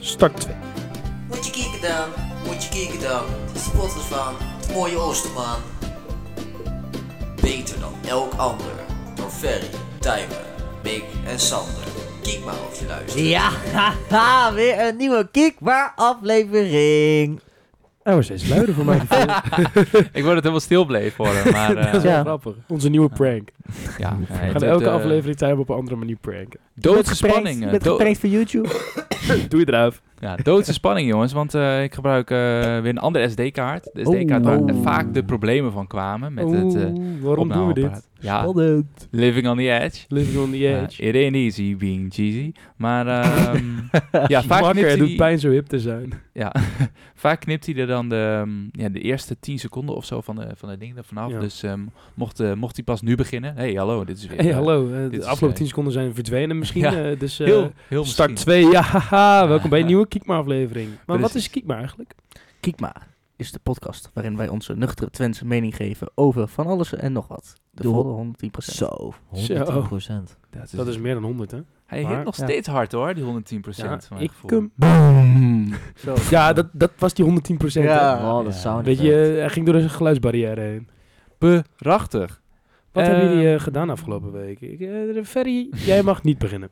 Start 2. Moet je kijken dan, moet je kijken dan. De spotten van het mooie Oosterman. Beter dan elk ander. Door Ferry, Tijmen, Mick en Sander. Kijk maar of je luistert. Ja, haha, weer een nieuwe Kiekbaar aflevering. Oh, we zijn luider voor mij. die film. Ik word het helemaal stil bleef voor hem, maar eh, Dat is wel Ja. grappig. Onze nieuwe prank. ja. eh, We gaan elke aflevering Tijmen op een andere manier pranken. Doodse spanning. eh, Met dood- geprankt voor YouTube. Doe je eraf. ja, doodse spanning, jongens. Want eh, ik gebruik eh, weer een andere SD-kaart. De Oeh. SD-kaart waar Oeh. vaak de problemen van kwamen met het eh Oeh, waarom doen we dit? opnameapparaat. Ah. Ja, Spannend. living on the edge. Living on the Ja, edge. it ain't easy being cheesy. Maar ehm, ja, vaak Makker, het knipt doet hij, pijn zo hip te zijn. ja, vaak knipt hij er dan de, ehm, ja, de eerste 10 seconden of zo van de, van de ding er vanaf. Ja. Dus ehm, mocht, eh, mocht hij pas nu beginnen. hey, hallo, dit is weer... Hey, eh, hallo. eh, dit de is, afgelopen eh, 10 seconden zijn verdwenen misschien. Ja, eh, dus eh, Heel, heel start misschien. 2. Ja, haha, welkom bij een Ja. nieuwe Kiekma aflevering. Maar wat Precies. is Kiekma eigenlijk? Kiekma is de podcast waarin wij onze nuchtere Twentse mening geven over van alles en nog wat. De Doe. volle 110%. Zo, 110%. Dat is, Dat is meer dan 100, hè? Hij Maar- hit nog ja. steeds hard hoor, die 110 procent. Ja, ik hem. Boom. Ja, dat, dat was die 110 procent. Ja. Oh, dat Ja. sound Weet je, effect. eh, hij ging door een geluidsbarrière heen. Prachtig. Wat Eh, hebben jullie eh, gedaan afgelopen week? Ik, eh, Ferry, jij mag niet beginnen.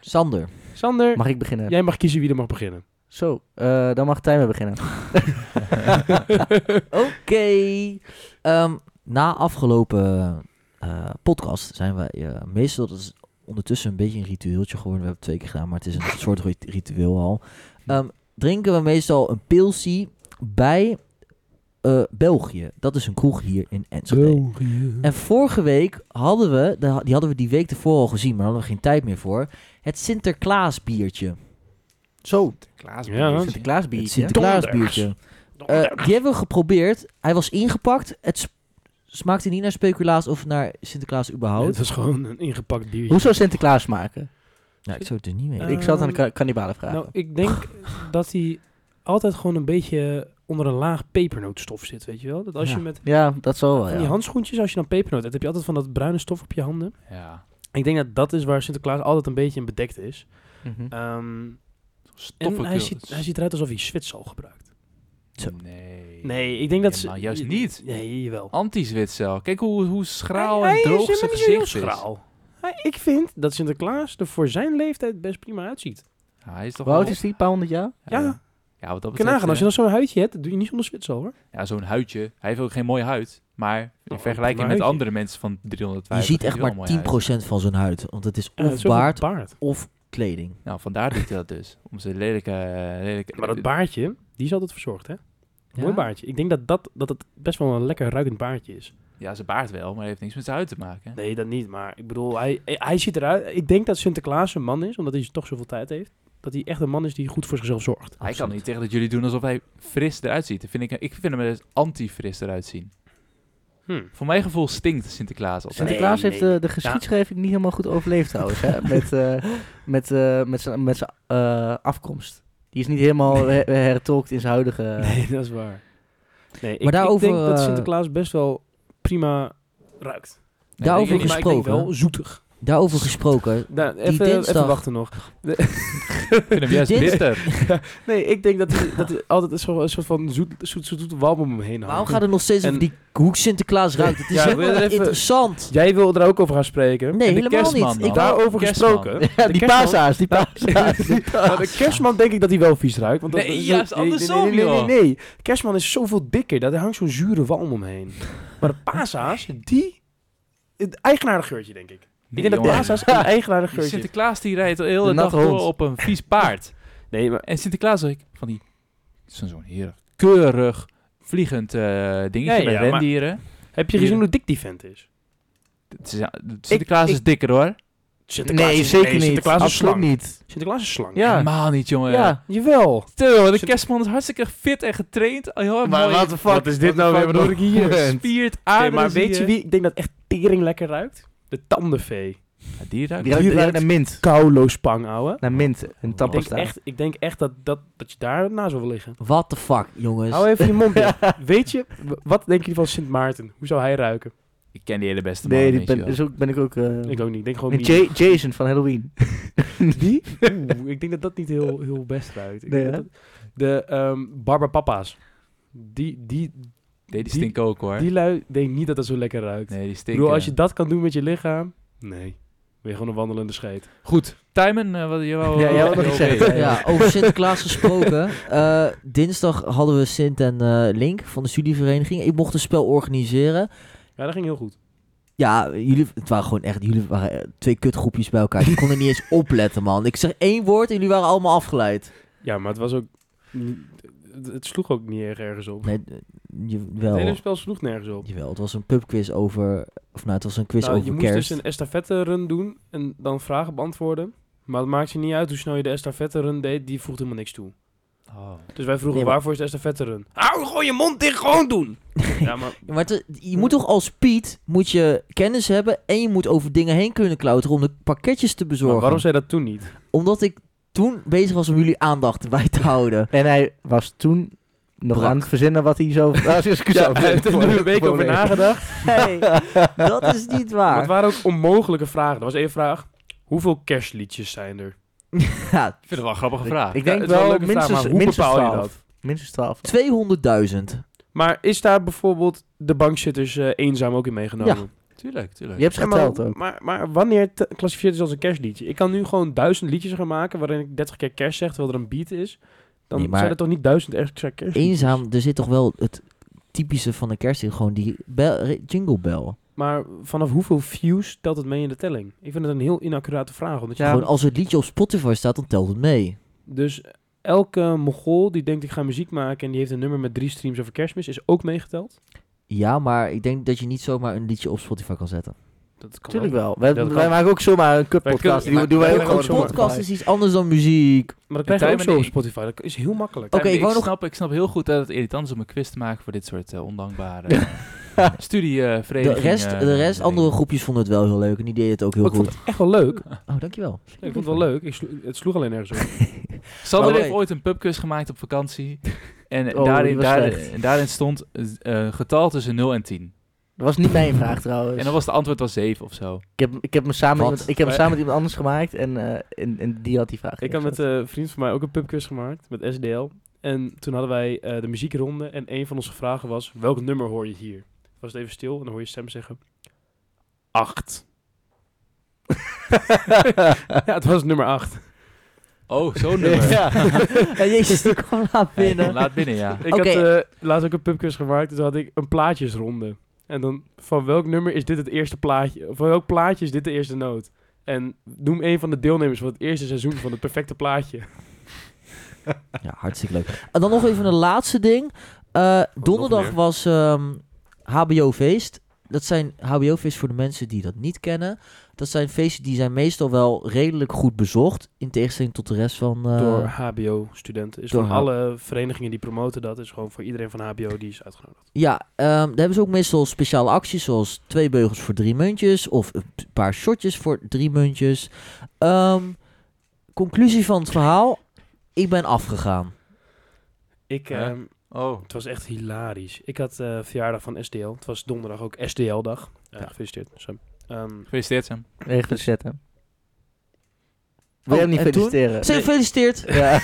Sander. Sander, Mag ik beginnen? jij mag kiezen wie er mag beginnen. Zo, eh, dan mag Tijmen beginnen. Oké. Ehm, na afgelopen eh, podcast zijn wij eh, meestal, dat is ondertussen een beetje een ritueeltje geworden. We hebben het twee keer gedaan, maar het is een soort rit- ritueel al. Ehm, drinken we meestal een pilsie bij eh, België. Dat is een kroeg hier in Enschede. En vorige week hadden we, de- die hadden we die week ervoor al gezien, maar daar hadden we geen tijd meer voor. Het Sinterklaas biertje. Zo, Klaas. Ja. Biertje. Sinterklaas biertje. Het Sinterklaas biertje. Donders. Eh, die hebben we geprobeerd. Hij was ingepakt. Het sp- smaakte niet naar speculaas of naar Sinterklaas Oh, überhaupt. het was gewoon een ingepakt biertje. Hoe zou Sinterklaas smaken? Nou, ik zou het er niet mee. Eh, ik zal het aan de Ehm, ka- kannibalen vragen. Nou, ik denk dat hij altijd gewoon een beetje onder een laag pepernootstof zit, weet je wel? Dat als Ja. je met ja, dat zal wel, van die ja. handschoentjes, als je dan pepernoot hebt, heb je altijd van dat bruine stof op je handen. Ja. Ik denk dat dat is waar Sinterklaas altijd een beetje in bedekt is. Mhm. Ehm, en Stoffelijk. hij ziet, hij ziet eruit alsof hij Zwits al gebruikt. Zo. Nee. Nee, ik denk dat ze... Helemaal juist niet. Nee, jawel. Anti-Zwitser. Kijk hoe, hoe schraal Hij- hij en is droog zijn helemaal niet zo heel gezicht is. schraal. Hij- Ik vind dat Sinterklaas er voor zijn leeftijd best prima uitziet. Ja, hij is toch Hoe oud wel- is die? Een paar honderd jaar? Ja, Ja, ja, wat dat kan betreft. nagaan. Als je eh, dan zo'n huidje hebt, dat doe je niet zonder Zwits al hoor. Ja, zo'n huidje. Hij heeft ook geen mooie huid. Maar in Oh, vergelijking maar met huidje. andere mensen van 350. Je ziet heeft echt hij maar wel 10% een mooie huid. van zijn huid. Want het is Ja, dat of is ook een baard baard. of kleding. Nou, vandaar doet hij dat dus. Om zijn lelijke... eh, lelijke Maar dat baardje, die is altijd verzorgd, hè? Mooi Ja? baardje. Ik denk dat, dat, dat het best wel een lekker ruikend baardje is. Ja, zijn baard wel, maar hij heeft niks met zijn huid te maken. Nee, dat niet. Maar ik bedoel, hij, hij ziet eruit... Ik denk dat Sinterklaas een man is, omdat hij toch zoveel tijd heeft. Dat hij echt een man is die goed voor zichzelf zorgt. Hij kan Absoluut. niet tegen dat jullie doen alsof hij fris eruit ziet. Dat Vind ik, ik vind hem als anti-fris eruit zien. Hm. Voor mijn gevoel stinkt Sinterklaas altijd. Sinterklaas Nee, heeft nee. eh, de geschiedschrijving niet helemaal goed overleefd trouwens. Hè? Met, eh, met, eh, met zijn, met zijn eh, afkomst. Die is niet helemaal her- hertolkt in zijn huidige... Nee, dat is waar. Nee, ik, Eh. Maar daarover, ik denk dat eh, Sinterklaas best wel prima ruikt. Nee, daarover denk ik maar ik denk wel gesproken. zoetig. Daarover gesproken. Nou, even, even dinsdag- wachten nog. Ik vind hem juist Dit- bitter. Nee, ik denk dat hij, dat hij altijd een soort, een soort van zoet, zoet, zoet, zoet walm om hem heen hangt. Waarom gaat het nog steeds En- over die hoe Sinterklaas ruikt? Het is Ja, wil je helemaal er even- interessant. Jij wil er ook over gaan spreken. Nee, de helemaal kerstman niet. dan? Ik wou- Daarover Nou, Kerstman. gesproken. Ja, de die kerstman- paasaars, die paasaars. die Maar de kerstman denk ik dat hij wel vies ruikt. Want dat- Nee, dat- juist andersom, nee, nee, nee, joh. nee, nee. Kerstman is zoveel dikker. Daar hangt zo'n zure walm omheen. Maar de paasa's, die... Het eigenaardig geurtje, denk ik. Ik denk dat jongen. paasa's een eigenaardig Die geurtje Sinterklaas die rijdt de De hele dag natte door hond. op een vies paard. Nee, maar... En Sinterklaas ik van die... Zo'n zo'n heerlijk, keurig, vliegend eh dingetje Ja, ja, met maar- rendieren. Heb je Hier- gezien hoe dik die vent is? Het is- ja, Sinterklaas ik- is dikker hoor. Sinterklaas is- nee, Sinterklaas is Absoluut slang. niet. Sinterklaas is slang. Ja. Helemaal niet jongen. Ja, jawel. Stil, de Zit- kerstman is hartstikke fit en getraind. Heel erg Maar mooi what the fuck? Wat is dit nou weer wat ik hier heb? gespierd, Oké, aardig. maar weet je wie eh, ik denk dat echt tering lekker ruikt? De tandenvee. die ruikt Die ruikt, Die die ruikt ruikt- naar mint. Koulospang, ouwe. Naar mint en Ik denk, tandpasta. echt, ik denk echt dat, dat, dat je daar naast wil liggen. What Dus- the fuck, jongens. Hou even je mond dicht. Weet je, w- wat denken jullie van Sint Maarten? Hoe zou hij ruiken? Ik ken die hele beste man. Nee, die weet je ben, wel. dus ook, ben ik ook... eh, Ik ook niet. Ik denk gewoon een die- Ja- Jason van Halloween. Die? Oeh, ik denk dat dat niet heel, heel best ruikt. Ik Nee, denk hè? dat- de ehm Barba Papa's. Die, die, Nee, die die- stinken ook hoor. die lui, ik denk niet dat dat zo lekker ruikt. nee, eh, die ik stinken. bedoel, als je dat kan doen met je lichaam... Nee. Ben je gewoon een wandelende scheet. Goed, Timen, eh, wat je wou... Ja, jij wou- wou nog iets wou- zeggen. weten. Ja, over Sinterklaas gesproken. Eh, dinsdag hadden we Sint en eh, Link van de studievereniging. Ik mocht een spel organiseren. Ja, dat ging heel goed. Ja, jullie, het waren gewoon echt, jullie waren eh, twee kutgroepjes bij elkaar. Ik kon er niet eens opletten, man. Ik zeg één woord en jullie waren allemaal afgeleid. Ja, maar het was ook... niet- Het het sloeg ook niet erg ergens op. Nee, eh, je- Het hele wel. spel sloeg nergens op. Jawel, het was een pubquiz over... Of nou, het was een quiz Nou, je over moest kerst. dus een estafette run doen en dan vragen beantwoorden. Maar het maakt je niet uit hoe snel je de estafette run deed. Die voegt helemaal niks toe. Oh. Dus wij vroegen, Nee, maar- waarvoor is de estafette run? Hou gewoon je mond dicht, gewoon doen! ja, maar Ja, maar het- je moet toch als Piet moet je kennis hebben en je moet over dingen heen kunnen klauteren om de pakketjes te bezorgen. Maar Nou, waarom zei je dat toen niet? Omdat ik toen bezig was om jullie aandacht bij te houden. En hij was toen nog Brak. aan het verzinnen wat hij zo... Ah, excuus, Ja, zo- hij heeft er nu een week over nagedacht. Hey, dat is niet Maar het waar. waren ook onmogelijke vragen. Er was één vraag. Hoeveel kerstliedjes zijn er? Ja, Ik vind het wel een grappige vraag. Ik denk het is wel wel, een leuke vraag, minstens, maar hoe minstens bepaal je 12. Minstens 12. 200.000. Maar is daar bijvoorbeeld de bankzitters eh, eenzaam ook in meegenomen? Ja, Tuurlijk, tuurlijk. Je hebt ze geteld maar, ook. maar, maar wanneer te- klassificeert het als een kerstliedje? Ik kan nu gewoon duizend liedjes gaan maken waarin ik 30 keer kerst zeg, terwijl er een beat is. Dan Nee, maar- zijn er toch niet duizend extra kerstliedjes? Eenzaam, er zit toch wel het typische van een kerst in, gewoon die bel, re- jingle bell. Maar vanaf hoeveel views telt het mee in de telling? Ik vind het een heel inaccurate vraag. Omdat je Ja. Gewoon als het liedje op Spotify staat, dan telt het mee. Dus elke mogol die denkt ik ga muziek maken en die heeft een nummer met drie streams over kerstmis, is ook meegeteld? Ja, maar ik denk dat je niet zomaar een liedje op Spotify kan zetten. Dat kan Tuurlijk wel. Wij, Dat wij kan. maken ook zomaar een Wij cup-podcast. kunnen- Die doen wij wij ook kunnen gewoon ook Een zomaar- zomaar. podcast is iets anders dan muziek. Maar dat krijg je Tijmen ook zo en op ik. Spotify. Dat is heel makkelijk. Oh. Oké, Timen, ik wou nog- snap, ik snap heel goed dat het irritant is om een quiz te maken voor dit soort eh, ondankbare De studieverenigingen. rest, de rest andere groepjes vonden het wel heel leuk en die deden het ook heel ik vond goed. het echt wel leuk. Oh, dankjewel. Ik vond het wel leuk. Ik slo- het sloeg alleen ergens op. Sander Oké. heeft ooit een pubquiz gemaakt op vakantie. En, Oh, die daarin, was daarin, slecht. en daarin stond eh, een getal tussen 0 en 10. Dat was niet mijn vraag trouwens. En dan was het antwoord was 7 of zo. Ik heb, ik heb hem samen, met Wat? iemand, ik heb hem samen met iemand anders gemaakt en, eh, en, en die had die vraag. ik had met eh, een vriend van mij ook een pubquiz gemaakt met SDL. En toen hadden wij eh, de muziekronde en een van onze vragen was, welk nummer hoor je hier? Was het even stil en dan hoor je stem zeggen, acht. Ja, het was nummer acht. Oh, zo'n nummer. Ja. En Jezus, die kwam laat Ja, je kon binnen. Laat binnen, ja. Ik Oké. had eh, laatst ook een pubquiz gemaakt. Dus had ik een plaatjesronde. En dan van welk nummer is dit het eerste plaatje? Van welk plaatje is dit de eerste noot? En noem een van de deelnemers van het eerste seizoen van het perfecte plaatje. Ja, hartstikke leuk. En dan nog even een laatste ding. Eh, donderdag meer? was ehm, HBO-feest. Dat zijn HBO-feest voor de mensen die dat niet kennen. Dat zijn feesten die zijn meestal wel redelijk goed bezocht. In tegenstelling tot de rest van... eh, door HBO-studenten. Is door van H- alle verenigingen die promoten dat. Is gewoon voor iedereen van HBO die is uitgenodigd. Ja, ehm, daar hebben ze ook meestal speciale acties zoals twee beugels voor drie muntjes of een p- paar shotjes voor drie muntjes. Ehm, conclusie van het verhaal, ik ben afgegaan. Ik, Hè? ehm, Oh. het was echt hilarisch. Ik had eh, verjaardag van SDL. Het was donderdag ook SDL-dag. Eh Ja. Gefeliciteerd, Sam. Ehm, Gefeliciteerd, Sam. Echt zetten. Wil je hem niet Oh, en toen? feliciteren? Zeg gefeliciteerd. Ja.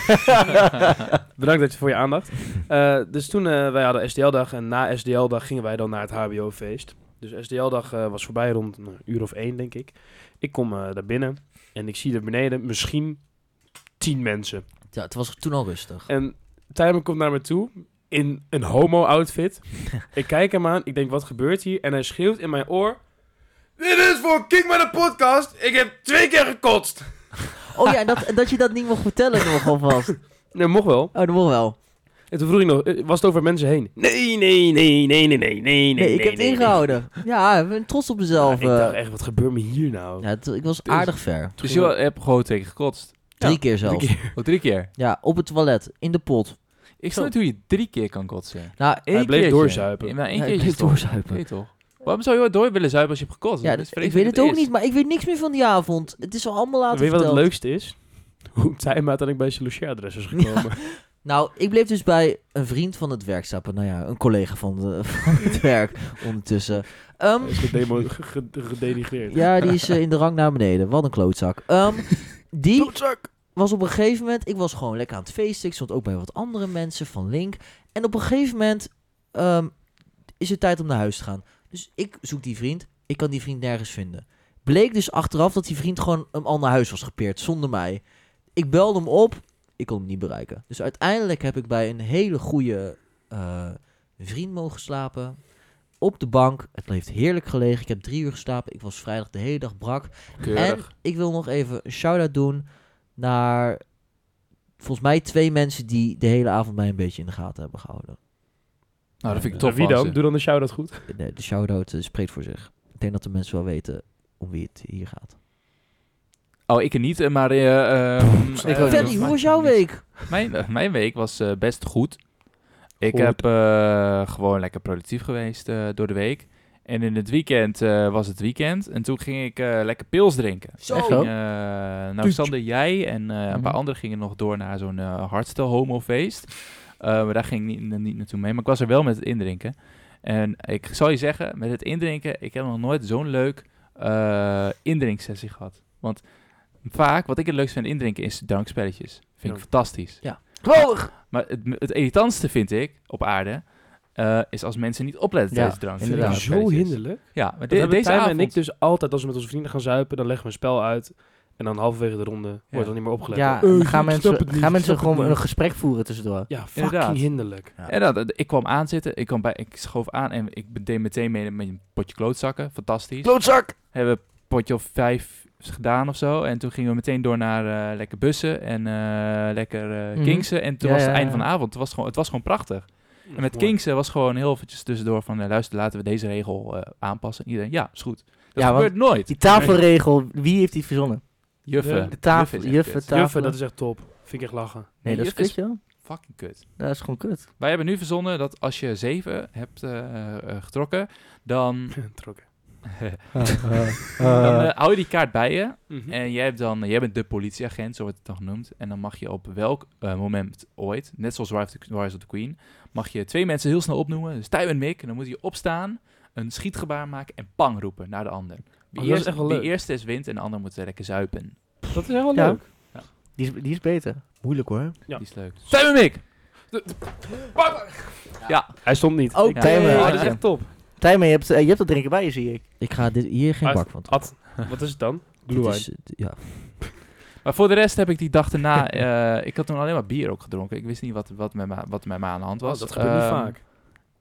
Bedankt dat je voor je aandacht. Eh, dus toen eh, wij hadden SDL-dag en na SDL-dag gingen wij dan naar het HBO-feest. Dus SDL-dag eh, was voorbij rond een uur of één, denk ik. Ik kom eh, daar binnen en ik zie daar beneden misschien tien mensen. Ja, het was toen al rustig. En Tijmen komt naar me toe in een homo-outfit. ik kijk hem aan, ik denk, wat gebeurt hier? En hij schreeuwt in mijn oor... Dit is voor Kijk maar de podcast. Ik heb twee keer gekotst. Oh ja, en dat, en dat je dat niet mocht vertellen nog alvast. Oh, Nee, mocht wel. dat mocht wel. En toen vroeg ik nog, eh, was het over mensen heen? Nee, nee, nee, nee, nee, nee, nee, nee, Nee, ik heb het nee, nee. ingehouden. Ja, ik ben trots op mezelf. Ja, ik dacht eh. echt, wat gebeurt me hier nou? Ja, het- ik was aardig ver. Dus je hebt gewoon tegen gekotst. Drie keer zelfs. Oh, drie keer. Ja, op het toilet, in de pot. Ik snap niet hoe je drie keer kan kotsen. Nou, Eén bleef keertje. doorzuipen. Ja, maar één ja, keertje ik bleef is toch- doorzuipen. Nee, toch? Waarom zou je wel door willen zuipen als je hebt gekotst? Ja, Dat is ik vreselijk weet het wat ook is. niet, maar ik weet niks meer van die avond. Het is al allemaal later Weet je wat het verteld. leukste is? Hoe Tijma uiteindelijk bij zijn logeeradres is gekomen. Nou, ik bleef dus bij een vriend van het werk stappen. Nou ja, een collega van, de- van het werk ondertussen. Ehm, Is gedemo- ge- ge- gedenigreerd. ja, die is eh, in de rang naar beneden. Wat een klootzak. Ehm, die was op een gegeven moment... Ik was gewoon lekker aan het feesten. Ik stond ook bij wat andere mensen van Link. En op een gegeven moment ehm, is het tijd om naar huis te gaan. Dus ik zoek die vriend. Ik kan die vriend nergens vinden. Bleek dus achteraf dat die vriend gewoon hem al naar huis was gepeerd. Zonder mij. Ik belde hem op. Ik kon hem niet bereiken. Dus uiteindelijk heb ik bij een hele goede eh, vriend mogen slapen. Op de bank. Het heeft heerlijk gelegen. Ik heb drie uur geslapen. Ik was vrijdag de hele dag brak. Keurig. En ik wil nog even een shout-out doen naar volgens mij twee mensen die de hele avond mij een beetje in de gaten hebben gehouden. Nou, dat vind ik Naar tof. Wie van dan? ze. Doe dan de shout-out goed. De, de shout-out eh, spreekt voor zich. Ik denk dat de mensen wel weten om wie het hier gaat. Oh, ik er niet, eh, maar... eh, ehm, Fanny, Ik eh, ook niet. hoe was jouw week? Mijn, eh, mijn week was eh, best goed. Ik Goed. heb eh, gewoon lekker productief geweest eh, door de week. En in het weekend eh, was het weekend. En toen ging ik eh, lekker pils drinken. Zo. Ik ging, eh, nou, Sander, jij en eh, een paar Mhm. anderen gingen nog door naar zo'n eh hardstyle homofeest. Eh, maar daar ging ik niet, niet naartoe mee. Maar ik was er wel met het indrinken. En ik zal je zeggen, met het indrinken, ik heb nog nooit zo'n leuk eh indrinksessie gehad. Want vaak, wat ik het leukst vind indrinken, is drankspelletjes. Vind ik Ja. fantastisch. Maar het, het irritantste vind ik op aarde eh, is als mensen niet opletten Ja, tijdens drank. inderdaad. Drank- Zo spelletjes. hinderlijk. Ja, maar Dat de- hebben deze Tijmen avond. en ik dus altijd als we met onze vrienden gaan zuipen, dan leggen we een spel uit. En dan halverwege de ronde wordt er niet meer opgelet. Oh, Ja, Eh, dan ik gaan snap mensen, het niet, gaan ik mensen snap het gewoon een niet. gesprek voeren tussendoor. Ja, fucking Inderdaad. hinderlijk. En dat, ik kwam aanzitten, ik, kwam bij, ik schoof aan en ik deed meteen mee met een potje klootzakken. Fantastisch. Klootzak! Hebben een potje of vijf gedaan of zo. En toen gingen we meteen door naar eh, lekker bussen en eh, lekker eh, Mhm. Kinksen. En toen Ja, was ja, het ja. einde van de avond. Het was gewoon, het was gewoon prachtig. En met Mooi. Kinksen was gewoon heel eventjes tussendoor van... eh, luister, laten we deze regel eh, aanpassen. En iedereen, ja, is goed. Dat Ja, want gebeurt nooit. Die tafelregel, wie heeft die verzonnen? Juffen. De tafel, Juffen is echt juffen, kut. tafel. Juffen, dat is echt top. Vind ik echt lachen. Nee, dat is Juf is- kut, joh. Fucking kut. Dat is gewoon kut. Wij hebben nu verzonnen dat als je zeven hebt eh, eh, getrokken, dan, Trokken. dan eh, hou je die kaart bij je. En jij, hebt dan, jij bent de politieagent, zo wordt het dan genoemd. En dan mag je op welk eh, moment ooit, net zoals Rise of, the, Rise of the Queen, mag je twee mensen heel snel opnoemen. Dus Tywin en Mick. En dan moet je opstaan, een schietgebaar maken en pang roepen naar de ander. Wie Oh, dat is echt wel wie leuk. eerste is wint en de ander moet eh, lekker zuipen. Dat is echt wel Ja. leuk. Die is, die is beter. Moeilijk hoor. Ja. Die is leuk. dus- Tywin en Mick! Hij stond niet. Oké. Tijmen, Oh, had dat is je. echt top. Tijmen, je hebt, eh, je hebt dat drinken bij je, zie ik. Ik ga dit, hier geen Uit- bak van. Ad, wat is het dan? Dit Glühwein. is, eh, d- ja. Maar voor de rest heb ik die dag daarna... eh, ik had toen alleen maar bier ook gedronken. Ik wist niet wat, wat, met, ma- wat met me aan de hand was. Oh, dat gebeurt niet Ehm, vaak.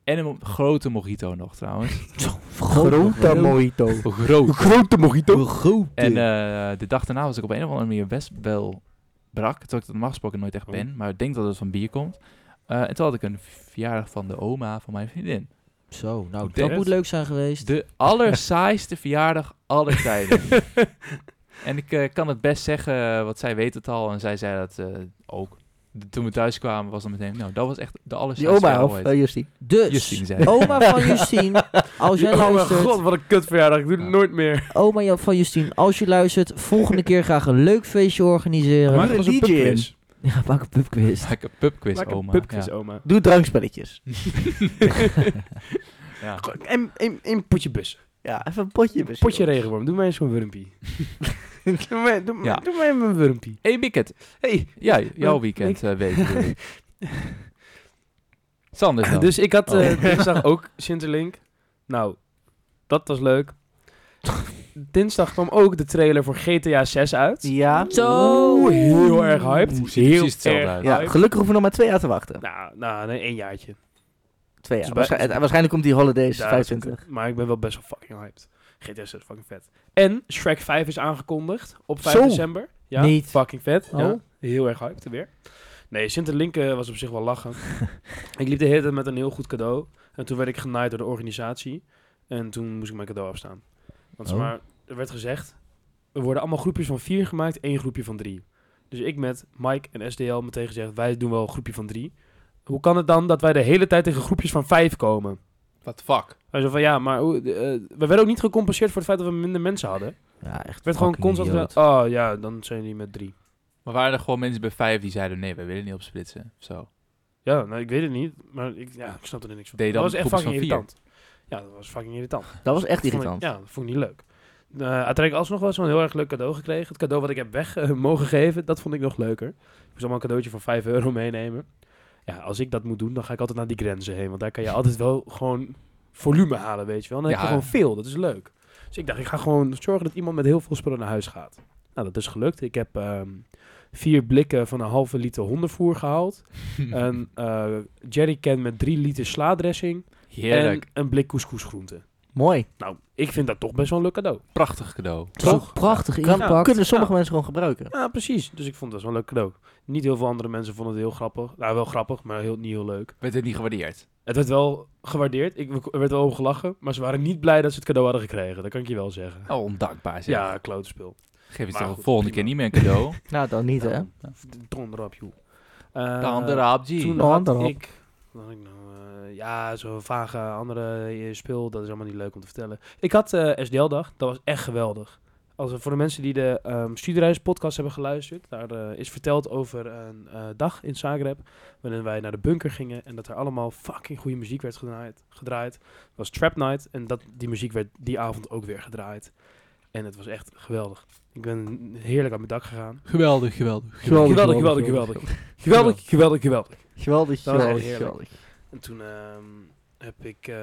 En een mo- grote mojito nog trouwens. Grote mojito. Groot. Grote mojito. Grote. En eh, de dag daarna was ik op een of andere manier best wel brak. Terwijl ik dat normaal gesproken nooit Oh. echt ben. Maar ik denk dat het van bier komt. Eh, en toen had ik een verjaardag van de oma van mijn vriendin. Zo, nou dat Direct. moet leuk zijn geweest. De allersaaiste verjaardag aller tijden. en ik eh, kan het best zeggen, eh, want zij weet het al. En zij zei dat eh, ook. De- toen we thuis kwamen was het meteen... Nou, dat was echt de Die allersaaiste oma of verjaardag eh, ooit. Justy? Dus, Justine zei het. oma van Justine, als jij nou oh mijn luistert, god, wat een kutverjaardag. Ik doe het Ja. nooit meer. oma Jo- van Justine, als je luistert, volgende keer graag een leuk feestje organiseren. Maak een ons een DJ pubquiz. Ja, maak een pubquiz. Maak een pubquiz, Maak een oma. pubquiz, ja. oma. Doe drankspelletjes. Ja. En en- en potje bus. Ja, even een potje. misschien. Potje regenworm. Doe mij eens zo'n wurmpie. doe, mij, doe, Ja. doe mij een wurmpie. Hey, Wicked. Hey, Ja, jouw Wat? weekend eh week. bedoel ik. Sander dan. Dus ik had Oh. eh, dinsdag ook Sinterlink. Nou, dat was leuk. Dinsdag kwam ook de trailer voor GTA 6 uit. Ja. Zo. Heel erg hyped. Oeh, ziet Heel er precies hetzelfde erg uit. Ja, hyped. gelukkig hoeven we nog maar twee jaar te wachten. Nou, nou, nee, één jaartje. Twee jaar. Dus bij- Waarschijn- eh, waarschijnlijk komt die Holidays Ja, 25. Maar ik ben wel best wel fucking hyped. GTA 6 is fucking vet. En Shrek 5 is aangekondigd op 5 Zo. december. Ja, Niet. fucking vet. Oh. Ja, heel erg hyped weer. Nee, Sinterlink eh, was op zich wel lachen. ik liep de hele tijd met een heel goed cadeau. En toen werd ik genaaid door de organisatie. En toen moest ik mijn cadeau afstaan. Want zeg Oh. maar, er werd gezegd... Er worden allemaal groepjes van vier gemaakt, één groepje van drie. Dus ik met Mike en SDL meteen gezegd... wij doen wel een groepje van drie. Hoe kan het dan dat wij de hele tijd tegen groepjes van vijf komen? What the fuck? Hij zei van ja, maar hoe- eh, we werden ook niet gecompenseerd voor het feit dat we minder mensen hadden. Ja, echt Het werd gewoon fucking constant idioot. gezegd, oh ja, dan zijn die met drie. Maar waren er gewoon mensen bij vijf die zeiden, nee, wij willen niet opsplitsen? Of Zo. Ja, nou, ik weet het niet, maar ik, ja, ik snap er niks van. Deed dat je dan was echt groepjes fucking van vier? irritant. Ja, dat was fucking irritant. Dat was echt Dat vond ik- irritant. ja, dat vond ik niet leuk. Eh uiteindelijk alsnog wel zo'n heel erg leuk cadeau gekregen. Het cadeau wat ik heb weg eh, mogen geven, dat vond ik nog leuker. Ik moest allemaal een cadeautje van 5 euro meenemen. Ja, als ik dat moet doen, dan ga ik altijd naar die grenzen heen. Want daar kan je altijd wel gewoon volume halen, weet je wel. Dan heb je Ja. gewoon veel, dat is leuk. Dus ik dacht, ik ga gewoon zorgen dat iemand met heel veel spullen naar huis gaat. Nou, dat is gelukt. Ik heb ehm, vier blikken van een halve liter hondenvoer gehaald. een eh jerrycan met drie liter slaadressing. Heerlijk. En een blik couscousgroente. Mooi. Nou, ik vind dat toch best wel een leuk cadeau. Prachtig cadeau. Het is ook Toch? prachtig Kan, ingepakt. Kunnen sommige Ja. mensen gewoon gebruiken. Ja, precies. Dus ik vond het best wel een leuk cadeau. Niet heel veel andere mensen vonden het heel grappig. Nou, wel grappig, maar heel, niet heel leuk. Werd het niet gewaardeerd? Het werd wel gewaardeerd. Ik er werd wel over gelachen. Maar ze waren niet blij dat ze het cadeau hadden gekregen. Dat kan ik je wel zeggen. Oh, ondankbaar zeg. ja, klote spul. Geef je Maar toch de goed, volgende prima. keer niet meer een cadeau? Nou, dan niet, hè? Daarom. Ton erop, joh. Eh, Dan de raap, G. Toen Dan had erop. ik... wat had ik nou, eh, ja, zo'n vage andere eh, speel. Dat is allemaal niet leuk om te vertellen. Ik had eh SDL-dag. Dat was echt geweldig. Als, eh, voor de mensen die de ehm studiereispodcast hebben geluisterd. Daar eh, is verteld over een eh, dag in Zagreb. Waarin wij naar de bunker gingen. En dat er allemaal fucking goede muziek werd gedraaid. gedraaid. Het was Trap Night. En dat, die muziek werd die avond ook weer gedraaid. En het was echt geweldig. Ik ben heerlijk aan mijn dak gegaan. Geweldig, geweldig. Geweldig, Geweldig, geweldig, geweldig. Geweldig, geweldig, geweldig. Geweldig, Dat was geweldig, echt heerlijk. geweldig. En toen ehm, heb ik eh,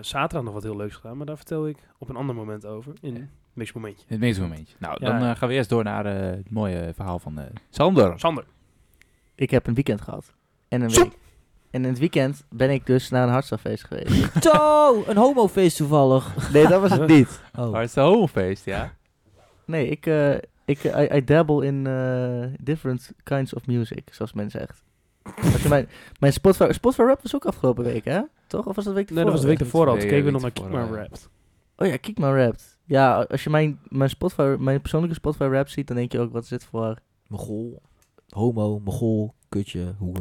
zaterdag nog wat heel leuks gedaan, maar daar vertel ik op een ander moment over. In Ja. een niks momentje. Het meeste momentje. Nou, Ja. dan eh, gaan we eerst door naar eh, het mooie verhaal van eh, Sander. Sander. Ik heb een weekend gehad. En een Zo. week. En in het weekend ben ik dus naar een hartslagfeest geweest. Zo, een homofeest toevallig. Nee, dat was het niet. Oh. Waar is de homofeest, ja? Nee, ik, eh, ik eh, I, I dabble in eh, different kinds of music, zoals men zegt. Als je mijn mijn Spotify, Spotify rap was ook afgelopen week, hè? Toch? Of was dat week Nee, dat was de week iets. daarvoor al. Nee, Toen ja, keken we nog week naar daarvoor Kiekma al, ja. Rapt. Oh ja, kijk maar rapt. Ja, als je mijn, mijn, Spotify, mijn persoonlijke Spotify rap ziet, dan denk je ook, wat is dit voor... Mogol, homo, mogol, kutje, hoer.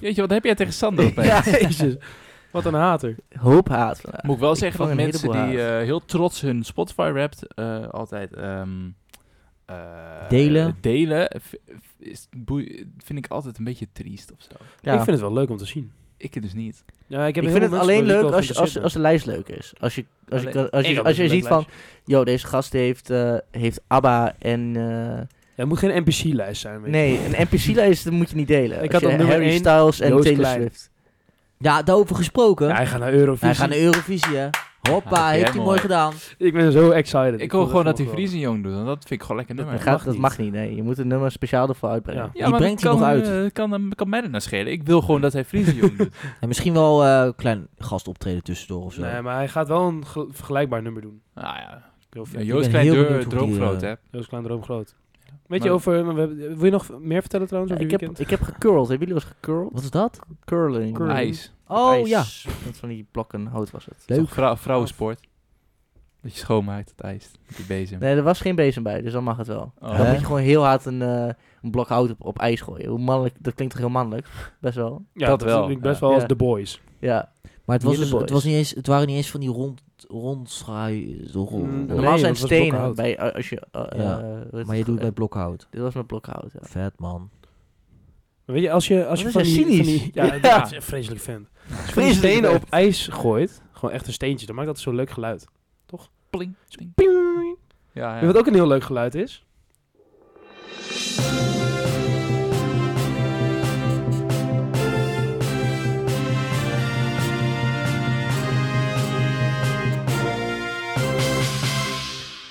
Jeetje, wat heb jij tegen Sander opeens? Jezus, wat een hater. Hoop haat vandaag. Moet ik wel Ik zeggen vang dat een mensen heleboel die haat. eh, heel trots hun Spotify rapt eh, altijd ehm, eh, Delen. delen v- v- is, boei- vind ik altijd een beetje triest of zo. Ik vind het wel leuk om te zien. Ik dus niet. Ja, ik, heb ik heel veel vind het mensen alleen die ik leuk wel als, je- als, geïnteresseerd als de lijst leuk is. Als je, als je, Alleen- kan- als ben. Ik je, had als je best een ziet leuk van, lijstje. yo, deze gast heeft, eh, heeft ABBA en... eh, Ja, het moet geen NPC-lijst zijn. Weet nee, een NPC-lijst moet je niet delen. Ik Als had op je nummer Harry één Styles en Joost Taylor Klein. Swift. Ja, daarover gesproken. je. Ja, hij gaat naar Eurovisie. Hij gaat naar Eurovisie, hè. Ja, Hoppa, dat heeft jij hij mooi. mooi gedaan. Ik ben zo excited. Ik hoor gewoon dat hij Vriezen. Friesingjongen doet, want dat vind ik gewoon lekker nummer. Dat, mag gaat, dat niet. mag niet, nee. Je moet een nummer speciaal ervoor uitbrengen. Ja. Die maar brengt dat hij nog kan, uit. eh, kan, hem- kan mij er naar schelen. Ik wil gewoon dat hij Friesingjongen doet. En misschien wel eh, een klein gastoptreden tussendoor of zo. Nee, maar hij gaat wel een ge- vergelijkbaar nummer doen. Nou ja, Heel vet. ja Joost ben Klein heel deur- benieuwd hoe die, droomgroot, eh, hè? Joost Klein Droom Groot. Weet Maar- je over... we hebben- wil je nog meer vertellen trouwens Ja, over ik, je heb, weekend? ik heb gecurled. Hebben jullie wel eens gecurled? Wat is dat? Curling. Curling. IJs. Oh, ja. Met van die blokken hout was het. Leuk. Toch vrou- vrouwensport. Dat je schoonmaakt, het ijs. Met die bezem. Nee, er was geen bezem bij, dus dan mag het wel. Oh. Dan Hè? moet je gewoon heel hard een, eh, een blok hout op, op ijs gooien. Hoe mannelijk, dat klinkt toch heel mannelijk? Best wel. Ja, Dat dat, wel, klinkt best ja. wel als Ja. The Boys. Ja. Maar het, was Hele dus, het, boys. was niet eens, het waren niet eens van die rond, rondschaai... ro- ro- Mm, ro- nee. Normaal zijn dat was stenen blokhout. bij, eh, als je... eh, eh, Ja, hoe heet het? Maar je doet het bij Eh, blokhout. Dit was met blokhout, ja. Vet, man. Maar weet je, als je, als je Dat van is die, ja cynisch. van die- ja, Ja. dat is een vreselijk fan. Als je van die Vreselijk stenen vet. op ijs gooit, gewoon echt een steentje, dan maakt dat zo'n leuk geluid. Pling, pling. Ping! Ja, En ja. Wat ook een heel leuk geluid is.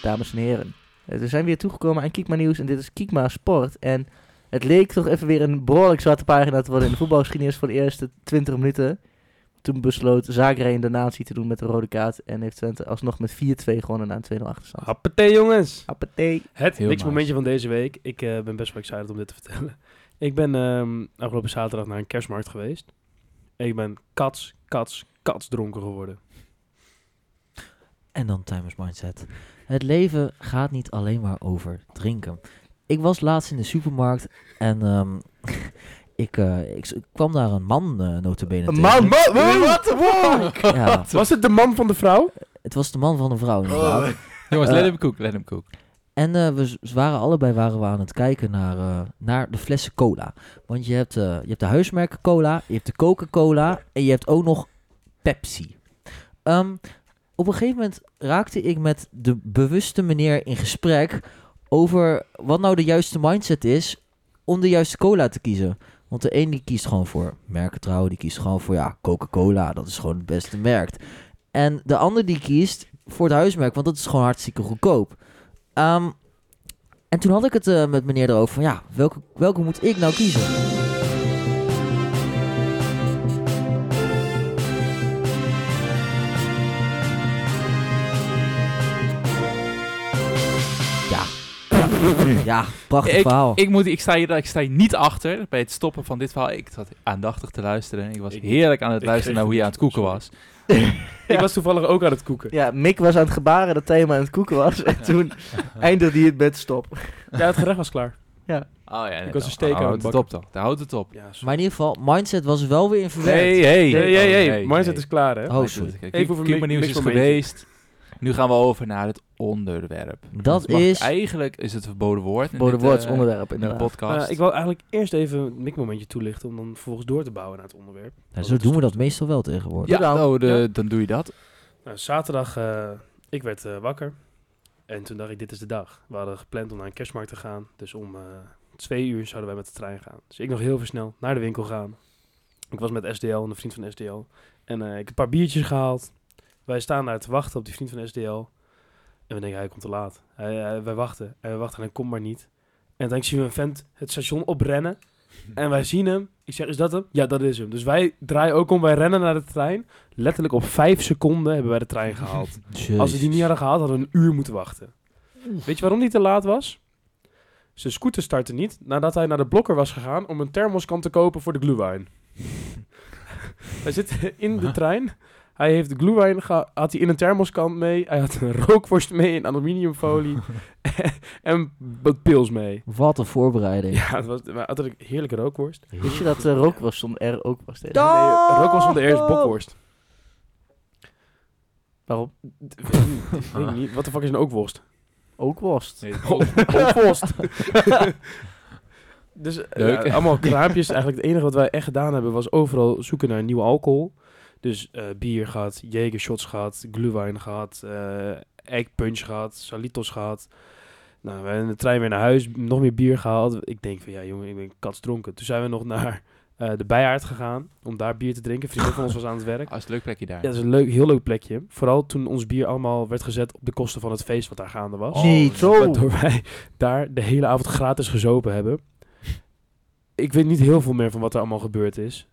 Dames en heren. Eh, We zijn weer toegekomen aan Kiekma Nieuws en dit is Kiekma Sport. En het leek toch even weer een behoorlijk zwarte pagina te worden in de voetbalgeschiedenis voor de eerste 20 minuten. Toen besloot Zagreb een donatie te doen met de rode kaart en heeft Twente alsnog met 4-2 gewonnen na een 2-0 achterstand. Happatee jongens! Appetee. Het Heel niks nice. momentje van deze week. Ik eh, ben best wel excited om dit te vertellen. Ik ben ehm, afgelopen zaterdag naar een kerstmarkt geweest. En ik ben kats, kats, kats dronken geworden. En dan timers mindset. Het leven gaat niet alleen maar over drinken. Ik was laatst in de supermarkt en ehm, ik, eh, ik, s- ik kwam daar een man eh notabene tegen. wat Ja, Was het de man van de vrouw? het was de man van een vrouw inderdaad. Jongens, let hem koek, let hem koek. En eh, we z- z- waren allebei waren we aan het kijken naar, eh, naar de flessen cola. Want je hebt, eh, je hebt de huismerken cola, je hebt de Coca-Cola en je hebt ook nog Pepsi. Ehm, op een gegeven moment raakte ik met de bewuste meneer in gesprek over wat nou de juiste mindset is om de juiste cola te kiezen. Want de een die kiest gewoon voor merkentrouw, die kiest gewoon voor ja, Coca-Cola, dat is gewoon het beste merk. En de ander die kiest voor het huismerk, want dat is gewoon hartstikke goedkoop. Ehm, en toen had ik het eh, met meneer erover van ja, welke, welke moet ik nou kiezen? Ja, ja, ja prachtig ik, Oh. verhaal. Ik, moet, ik, sta hier, ik sta hier niet achter bij het stoppen van dit verhaal. Ik zat aandachtig te luisteren. Ik was Ik- heerlijk aan het ik luisteren kreeg naar hoe je aan het het koeken was. Ik was toevallig ook aan het koeken. Ja, Mick was aan het gebaren dat Thema aan het koeken was. En toen eindigde hij het bed stop. Ja, het gerecht was klaar. Oh ja, was een steek aan het Houdt het op dan. Daar houdt het op. Ja, Maar in ieder geval, mindset was er wel weer in verwerkt. Hey, hey, hey, hey, hey, Mindset is klaar, hè? Oh, sorry. Even Even over over mi- nieuws niks is van meentje. geweest. Nu gaan we over naar het onderwerp. Dat mag- is... Eigenlijk is het verboden woord. in Bode dit, woords eh, onderwerp in de inderdaad. podcast. Eh, ik wil eigenlijk eerst even een mikmomentje toelichten om dan vervolgens door te bouwen naar het onderwerp. Nou, zo doen we dat meestal wel tegenwoordig. ja, Doe dan. nou, de- Ja. dan doe je dat. Nou, zaterdag, eh, ik werd eh, wakker. En toen dacht ik, dit is de dag. We hadden gepland om naar een kerstmarkt te gaan. Dus om eh, twee uur zouden wij met de trein gaan. Dus ik nog heel veel snel naar de winkel gaan. Ik was met SDL en een vriend van SDL. En eh, ik heb een paar biertjes gehaald. Wij staan daar te wachten op die vriend van SDL. En we denken, hij komt te laat. Hij, hij- eh, wij wachten. En we wachten en hij komt maar niet. En uiteindelijk zien we een vent het station oprennen. En wij zien hem. Ik zeg, is dat hem? Ja, dat is hem. Dus wij draaien ook om. Wij rennen naar de trein. Letterlijk op vijf seconden hebben wij de trein gehaald. Jezus. Als we die niet hadden gehaald, hadden we een uur moeten wachten. Weet je waarom die te laat was? Zijn scooter startte niet nadat hij naar de blokker was gegaan om een thermoskan te kopen voor de glühwein. hij zit in de trein. Hij heeft de glühwein geha- had hij in een thermoskan mee. Hij had een rookworst mee in aluminiumfolie. en wat pils mee. Wat een voorbereiding. Ja, het was maar altijd een heerlijke rookworst. Wist je dat de rookworst zonder R ook was tegen? Da- Oh! Nee, rookworst van de eerste bokworst. Waarom? Ik weet niet, wat de fuck is een ookworst? Ook worst. Ookworst! dus eh, Leuk. ja, allemaal kraampjes. Eigenlijk het enige wat wij echt gedaan hebben was overal zoeken naar nieuwe alcohol. Dus eh, bier gehad, jegershots gehad, glühwein gehad, eh eggpunch gehad, salitos gehad. Nou, we hebben in de trein weer naar huis, nog meer bier gehaald. Ik denk van, ja jongen, ik ben katsdronken. Toen zijn we nog naar eh, de Bijaard gegaan om daar bier te drinken. Vrienden van ons was aan het werk. Oh, Als leuk plekje daar. Ja, dat is een leuk, heel leuk plekje. Vooral toen ons bier allemaal werd gezet op de kosten van het feest wat daar gaande was. Niet zo. Waardoor wij daar de hele avond gratis gezopen hebben. Ik weet niet heel veel meer van wat er allemaal gebeurd is.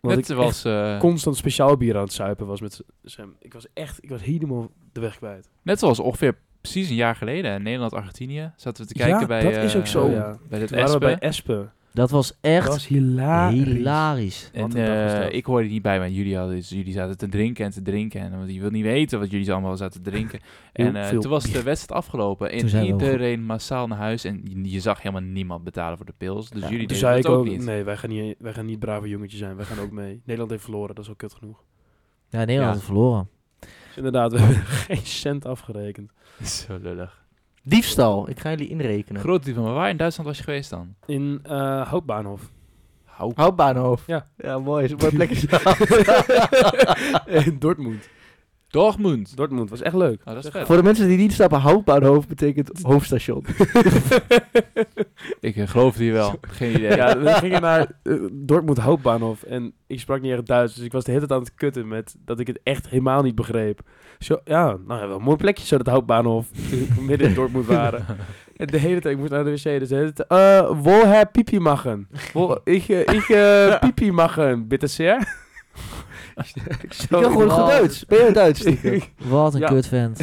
Want het ik echt was, eh, constant speciaal bier aan het zuipen was met Sam. Ik was echt, ik was helemaal de weg kwijt. Net zoals ongeveer precies een jaar geleden, hè, Nederland-Argentinië, zaten we te kijken Ja, bij... dat is eh, ook zo, Oh ja. Bij dit Toen waren we bij Espen. Espen. Dat was Dat echt was hilarisch. hilarisch. Wat En een dag was eh, dat. ik hoorde niet bij, maar jullie, hadden, dus jullie zaten te drinken en te drinken. En, want je wilt niet weten wat jullie allemaal zaten te drinken. Heel en eh, veel toen was de bier. wedstrijd afgelopen. Toen En zijn we iedereen massaal naar huis. En je, je zag helemaal niemand betalen voor de pils. Dus Ja, Toen jullie deden zei dat ik ook, ook, niet. nee, wij gaan, niet, wij gaan niet brave jongetjes zijn. Wij gaan ook mee. Nederland heeft verloren, dat is al kut genoeg. Ja, Nederland Ja. had verloren. Dus inderdaad, we hebben geen cent afgerekend. Zo lullig. Diefstal. Ik ga jullie inrekenen. Groot die van me. Waar in Duitsland was je geweest dan? In eh Houtbaanhof. Hou. Houtbaanhoofd. Ja. Ja, mooi. Is een mooi plekje. In Dortmund. Dortmund. Dortmund was echt leuk. Oh, dat is vet. Voor de mensen die niet snappen, Houtbaanhoofd betekent hoofdstation. Ik eh, geloof die wel. Geen idee. Ja, we gingen naar eh, Dortmund Houtbahnhof en ik sprak niet echt Duits, dus ik was de hele tijd aan het kutten met dat ik het echt helemaal niet begreep. Zo, ja, nou ja, wel een mooi plekje zo dat Houtbahnhof, toen we midden in Dortmund waren. En de hele tijd, ik moest naar de wc, dus de hele tijd, eh, wo her pipi machen? Wo, ik, eh, ik eh, pipi machen, bitte sehr? ik Ik kan gewoon goed Wat? Duits. Ben je Duits? stiekem? Wat een Ja. kut vent.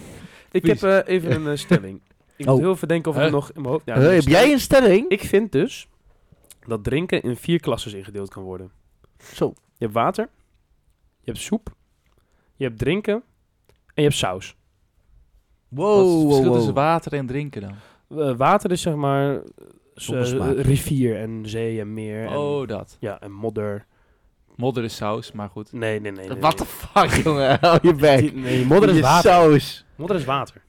ik heb eh, even een eh, stelling. Ik moet Oh. heel verdenken of ik het Huh? nog in mijn hoofd... Ja, Hey, heb jij een stelling? Ik vind dus dat drinken in vier klasses ingedeeld kan worden. Zo. Je hebt water, je hebt soep, je hebt drinken en je hebt saus. Wat is Wow, het oh, wow, verschil wow. tussen water en drinken dan? Eh, water is zeg maar eh, s- Zonder eh, smaak. rivier en zee en meer. en- Oh, dat. Ja, en modder. Modder is saus, maar goed. Nee, nee, nee. nee What the fuck, jongen? Hou je nee. bek. Die- Nee, modder is Je water. saus. Modder is water.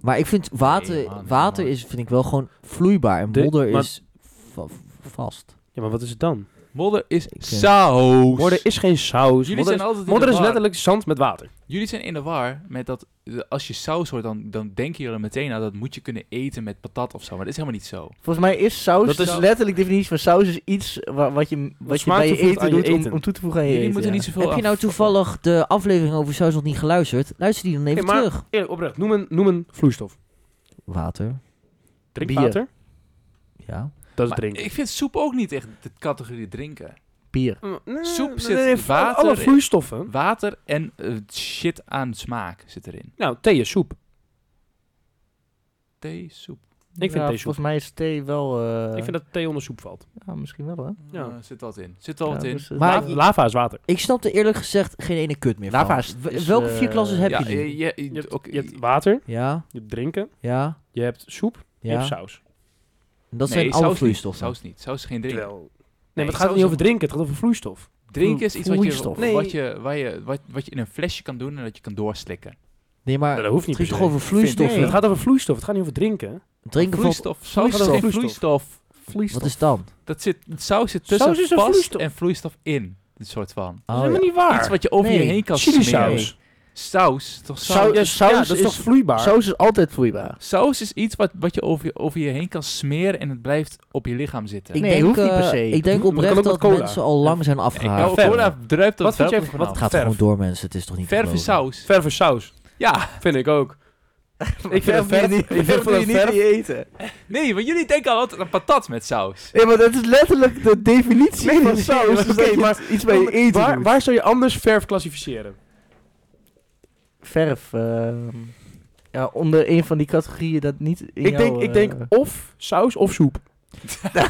Maar ik vind water, Nee, man, nee, water man. is, vind ik wel gewoon vloeibaar. En De- modder maar- is va- vast. Ja, maar wat is het dan? Modder is Ik, eh, saus. Modder is geen saus. Jullie modder zijn altijd in is, modder de is war. letterlijk zand met water. Jullie zijn in de war met dat eh, als je saus hoort, dan, dan denken jullie er meteen aan dat moet je kunnen eten met patat of zo. Maar dat is helemaal niet zo. Volgens mij is saus, Dat dat is- is letterlijk de definitie van saus, is iets wa- wat je, wat je smaak bij je toevoegt eten aan je doet om, eten. om toe te voegen aan je jullie eten. moeten ja. niet zoveel Heb je nou af- toevallig de aflevering over saus nog niet geluisterd? Luister die dan even maar- terug. Eerlijk, oprecht. Noem een, noem een vloeistof. Water, Drinkwater? ja. Dat is Maar drinken. Ik vind soep ook niet echt de categorie drinken. Bier. Mm, Nee, Soep nee, zit nee, nee, water Alle in. vloeistoffen. Water en eh, shit aan smaak zit erin. Nou, thee is soep. Thee, soep. Ik vind Ja, thee soep. Volgens mij is thee wel... eh, Ik vind dat thee onder soep valt. ja, misschien wel, hè? Ja. Eh, zit wat in. Zit wel wat Ja, in. dus, eh, Maar- Lava, lava is water. Ik snapte eerlijk gezegd geen ene kut meer Nou, Lava van. is- W- is, Welke eh, vier klassen heb ja, je nu? je, je- Je hebt, ook- je hebt water, Ja, je hebt drinken, ja, je hebt soep, je hebt ja. saus. Dat Nee, zijn saus alle niet. vloeistoffen. Saus niet. Saus is geen drinken. Terwijl... Nee, maar het saus gaat niet is over een- drinken, het gaat over vloeistof. Drinken is iets wat je, Vloeistof. Nee. wat, je, waar je, wat, wat je in een flesje kan doen en dat je kan doorslikken. Nee, maar Nou, het dat hoeft niet per ging toch se. over vloeistoffen? Nee, het gaat over vloeistof, het gaat niet over drinken. Drinken van... vloeistof. Saus is vloeistof. geen vloeistof. Vloeistof. Wat is dan? Dat zit, saus zit tussen Saus is een vast vloeistof. en vloeistof in. Dit soort van. Oh, Dat is helemaal niet Iets waar. wat je over je Nee, heen kan Chili smeren. saus. Saus, toch saus? Saus- Ja, ja, dat is toch vloeibaar? Saus is altijd vloeibaar. Saus is iets wat, wat je over, je over je heen kan smeren en het blijft op je lichaam zitten. Ik Nee, denk, hoeft niet per eh, se. Ik Dat denk kan ook oprecht met dat cola. mensen al lang zijn afgehaakt. Nou, verf. cola druipt dat Ah, Wat vind wel jij van- vanaf. Het gaat verf. gewoon door, mensen. Het is toch niet te Verf is geloven? saus. Verf is saus. Ja, Vind ik ook. ik vind dat Verf doe je verf. niet- Ik vind verf doe je dat niet in verf. je eten. nee, want jullie denken al altijd aan patat met saus. Nee, maar dat is letterlijk de definitie Nee, van nee, saus. nee, is oké, dat je maar- iets bij je eten waar, doet. waar zou je anders verf klassificeren? Verf. ehm, ja, onder een van die categorieën dat niet in ik, denk, jouw, ik denk eh, of saus of soep. ja,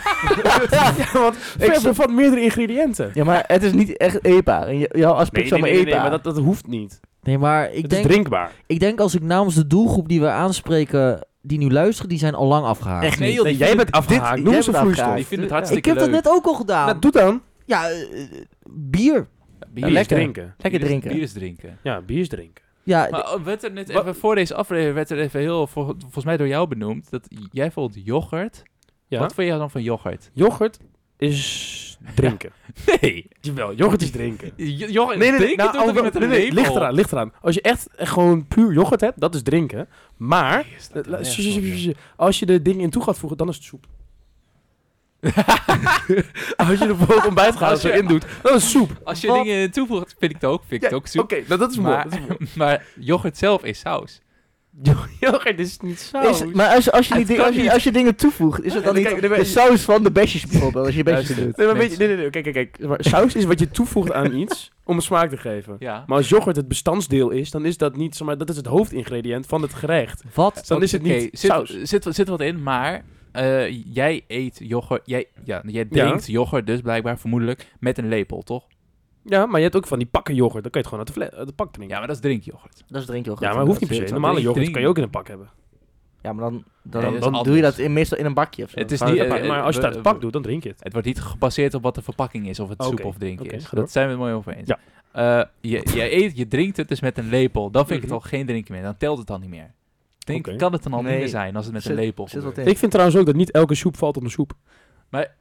want verf snap- bevat meerdere ingrediënten. Ja, maar het is niet echt eetbaar. En j- jouw aspect is allemaal eetbaar. maar dat, dat hoeft niet. Nee, maar ik het denk, is drinkbaar. ik denk als ik namens de doelgroep die we aanspreken, die nu luisteren, die zijn al lang afgehaakt. Echt Nee, niet. joh, die Nee, jij vinden- bent Ah, afgehaakt. Noem jij eens een bent vloeistof. afgehaakt. Die vinden het Ik hartstikke heb dat leuk. net ook al gedaan. Nou, doe dan. Ja, eh, eh, bier. Bier Ja, is lekker. drinken. Lekker bier is- drinken. Bier is drinken. Ja, bier is drinken. Ja, Maar oh, werd er net Wat- even, voor deze aflevering werd er even heel, vol- volgens mij door jou benoemd, dat jij vond yoghurt. Ja. Wat vond jij dan van yoghurt? Yoghurt is drinken. Nee, Jawel, yoghurt is drinken. yoghurt nee, nee, nee, nou, doet er alhoewel- met een nee, nee, ligt lepel. eraan, ligt eraan. Als je echt eh, gewoon puur yoghurt hebt, dat is drinken. Maar, Is eh, dat la- erg, sh- sh- joh. sh- sh- als je er dingen in toe gaat voegen, dan is het soep. als je er bijvoorbeeld ontbijt gaat Als zo je- in doet, dan is het soep. Als je Wat? dingen toevoegt, vind ik het ook, vind ik het ook Oké, zoet. nou, dat is mooi. maar, dat is mooi. maar yoghurt zelf is saus. Yoghurt is niet saus. Is- maar als, als, je die Het ding- kan als, je, niet. als je dingen toevoegt, is het dan Nee, niet kijk, nee, de maar- saus van de besjes bijvoorbeeld, als je besjes Luister. doet? Nee, maar weet je, nee, nee, nee, kijk, kijk, kijk. Maar Saus is wat je toevoegt aan iets om een smaak te geven. Ja. Maar als yoghurt het bestandsdeel is, dan is dat niet, zeg maar dat is het hoofdingrediënt van het gerecht. wat? Dan is het niet Oké, zit, saus. Zit, zit wat in, maar eh, jij eet yoghurt, jij, ja, jij drinkt yoghurt dus blijkbaar vermoedelijk met een lepel, toch? Ja, maar je hebt ook van die pakken yoghurt, dan kan je het gewoon uit de, fle- uit de pak drinken. Ja, maar dat is drinkyoghurt. Dat is drinken Ja, maar hoeft niet per se. Normale drink- yoghurt drink- kan je ook in een pak hebben. Ja, maar dan, dan, Nee, dat dan, is doe je anders. dat in, meestal in een bakje of zo. Het is Maar, niet, dat- eh, eh, maar als je het we- uit het pak we- doet, dan drink je het. Het wordt niet gebaseerd op wat de verpakking is, of het Oké, soep of drinken oké, is. ga door. Dat zijn we het mooi over eens. Ja. Eh, je, je, eet, je drinkt het dus met een lepel. Dan vind ik Mhm. het al geen drinken meer. Dan telt het dan niet meer. Denk, Oké. Kan het dan al niet Nee. meer zijn als het met Zit- een lepel zit wat gebeurt? in. Ik vind trouwens ook dat niet elke soep valt onder soep. Maar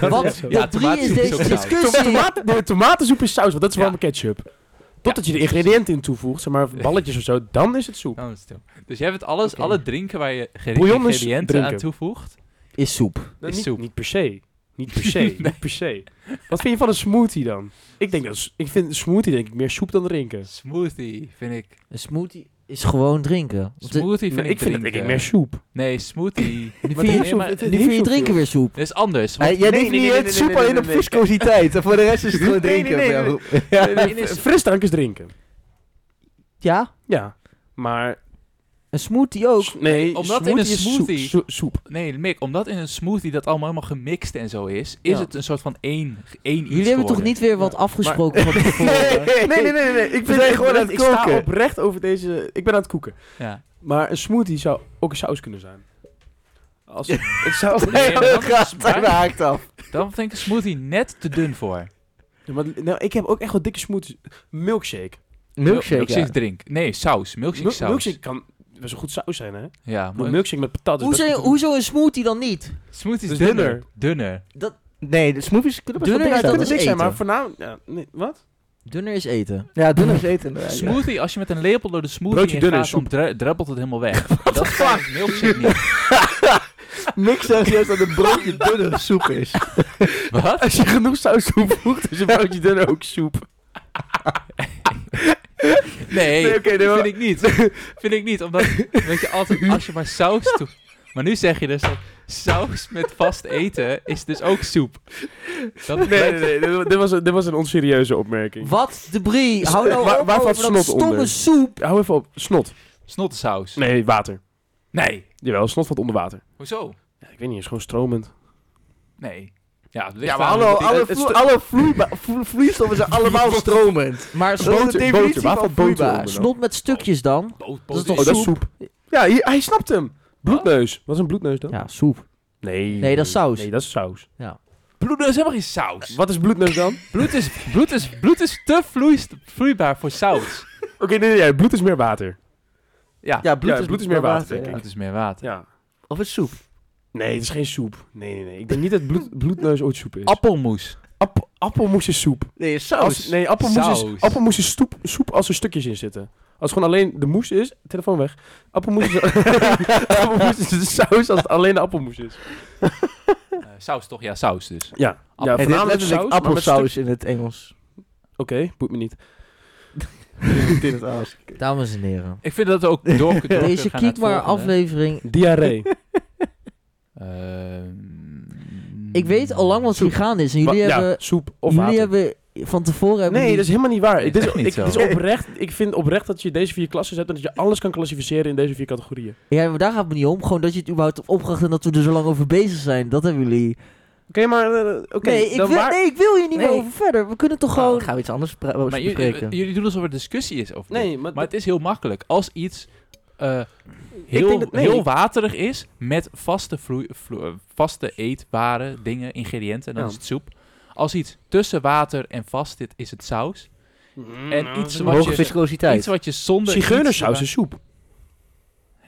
Wat? zo. Ja, de drie tomatensoep is is deze ook saus. discussie. Tomaten, nee, tomatensoep is saus, want dat is Ja. warme ketchup. Totdat je de ingrediënten in toevoegt, zeg maar balletjes of zo, dan is het soep. Nou, stil. Dus jij hebt alles, Oké. alle drinken waar je ge- Bouillon is ingrediënten aan drinken. toevoegt. Is soep. Nou, Is niet, soep. niet per se. Niet per se. Niet per se. Wat vind je van een smoothie dan? Ik, denk dat, s- ik vind een smoothie denk ik meer soep dan drinken. Smoothie vind ik. Een smoothie is gewoon drinken. Want de- Smoothie vind Nee, ik. ik vind het denk ik drinken. meer soep. Nee, smoothie. Nu Maar vind het je, heeft zo- maar- het nu heeft vind je zoveel. drinken weer soep. Dat is anders. Hey, want- jij Nee, denkt nee, niet nee, het nee, soep nee, alleen nee, op nee, nee. viscositeit. en Voor de rest is het gewoon Nee, nee, drinken. nee, nee, bro. Nee, nee, is- Frisdrank is drinken. Ja, Ja. Maar een smoothie ook. s- nee, omdat in een is soep- smoothie- soep. soep. Nee, Mick, omdat in een smoothie dat allemaal helemaal gemixt en zo is, is Ja. het een soort van één, één iets Jullie hebben toch geworden. niet weer wat afgesproken van tevoren? Nee, nee, nee, nee. Ik, ben vind echt gewoon aan het ik sta koken. oprecht over deze... Ik ben aan het koeken. Ja. Maar een smoothie zou ook een saus kunnen zijn. Als, het zou... Nee, maar Dat dan, gaat hij haakt af. dan vind ik een smoothie net te dun voor. Ja, maar, nou, ik heb ook echt wel dikke smoothies. Milkshake. Milkshake, ja. drink. Nee, saus. Milkshake Mil- saus. Milkshake kan best wel goed saus zijn, hè? Ja, maar Een milkshake met patat is best Hoezo, wel goed. hoezo een smoothie dan niet? Smoothies Dus dunner. dunner. dunner. Nee, de smoothies kunnen best wel Dunner Ja, dik het kan dat niet dik zijn, is zijn. eten. maar voornamelijk... Ja, nee, wat? Dunner is eten. Ja, dunner is eten. inderdaad, ja. Smoothie, als je met een lepel door de smoothie Broodje in dunner gaat, is dan dre- druppelt het helemaal weg. dat is fuck? milkshake niet. Niks zegt juist dat het broodje dunner soep is. Wat? Als je genoeg saus toevoegt, is een broodje dunner ook Oh, soep. Nee, Nee, oké, nee, dat maar- vind ik niet. vind ik niet, omdat weet je, altijd, als je maar saus toe... Maar nu zeg je dus dat saus met vast eten is dus ook soep. Dat Nee, nee, nee. dit wa- Dit was, een- dit was een onserieuze opmerking. Wat de brie? Dus, Hou eh, nou waar- op waar over valt dat snot onder? stomme soep. Hou even op. Snot. Snottensaus. Nee, water. Nee. Jawel, snot valt onder water. Hoezo? Ja, ik weet niet, is gewoon stromend. Nee. Ja, het ligt Ja, maar aan hallo, hoe het- alle, het is vloe- te- alle vloeiba- vlo- vloeistoffen zijn allemaal stromend. Maar Boter- boter, waar valt boter onder? Snot met stukjes dan. Boot- Dat is boot- toch Oh, dat is soep. Ja, hier- hij snapt hem. Bloedneus. Wat is een bloedneus dan? Ja, soep. Nee. Nee, dat is saus. Nee, dat is saus. Bloed is helemaal geen saus. Wat is bloedneus dan? Bloed is, bloed is, bloed is te vloeist- vloeibaar voor saus. Oké, nee, nee, nee, bloed is meer water. Ja, Ja, bloed, Ja, is, bloed is meer water, denk ja. ik. het is meer water. Ja. Of het soep. Nee, het is geen soep. Nee, nee, nee. Ik denk niet dat bloed, bloedneus ooit soep is. Dus- Appelmoes. App- appelmoes is soep. Nee, saus. Als, nee, appelmoes Saus. is, appelmoes is soep, soep als er stukjes in zitten. Als het gewoon alleen de moes is, telefoon weg. Appelmoes is, appelmoes is de saus als het alleen de appelmoes is. Eh, saus toch? Ja, saus dus. Ja, Appel- ja Nee, En dit is voornamelijk letterlijk saus, maar met stuk- appelsaus in het Engels. Oké, boeit me niet. in het Engels. Dames en heren. Ik vind dat we ook door, door kunnen Deze gaan naar het Kiekmaar volgende. aflevering. Diarree. Ehm, Ik weet al lang wat hier gaan is. En jullie Wa- hebben... ja, soep of jullie water. hebben van tevoren... Hebben Nee, jullie- dat is helemaal niet waar. Nee, Dit is, echt niet ik, zo. dit is oprecht, ik vind oprecht dat je deze vier klassen hebt en dat je alles kan klassificeren in deze vier categorieën. Ja, maar daar gaat het me niet om. Gewoon dat je het überhaupt hebt opgebracht en dat we er zo lang over bezig zijn. Dat hebben jullie... Oké, maar... eh, Oké, nee, ik dan wil, waar- nee, ik wil hier niet meer Nee. over verder. We kunnen Nou, toch Gewoon gewoon... gaan we iets anders pra- Maar jullie, bespreken. jullie doen alsof er discussie is over dit. Nee, maar... Maar het is heel makkelijk. Als iets eh, heel, denk dat- nee, heel ik- waterig is met vaste, vloe- vloe- eh, vaste eetbare dingen, ingrediënten, dan Ja. is het soep. Als iets tussen water en vast zit, is het saus. en iets wat Hoge je- viscositeit. Iets wat je zonder... Mm. Zigeunersaus iets- is soep.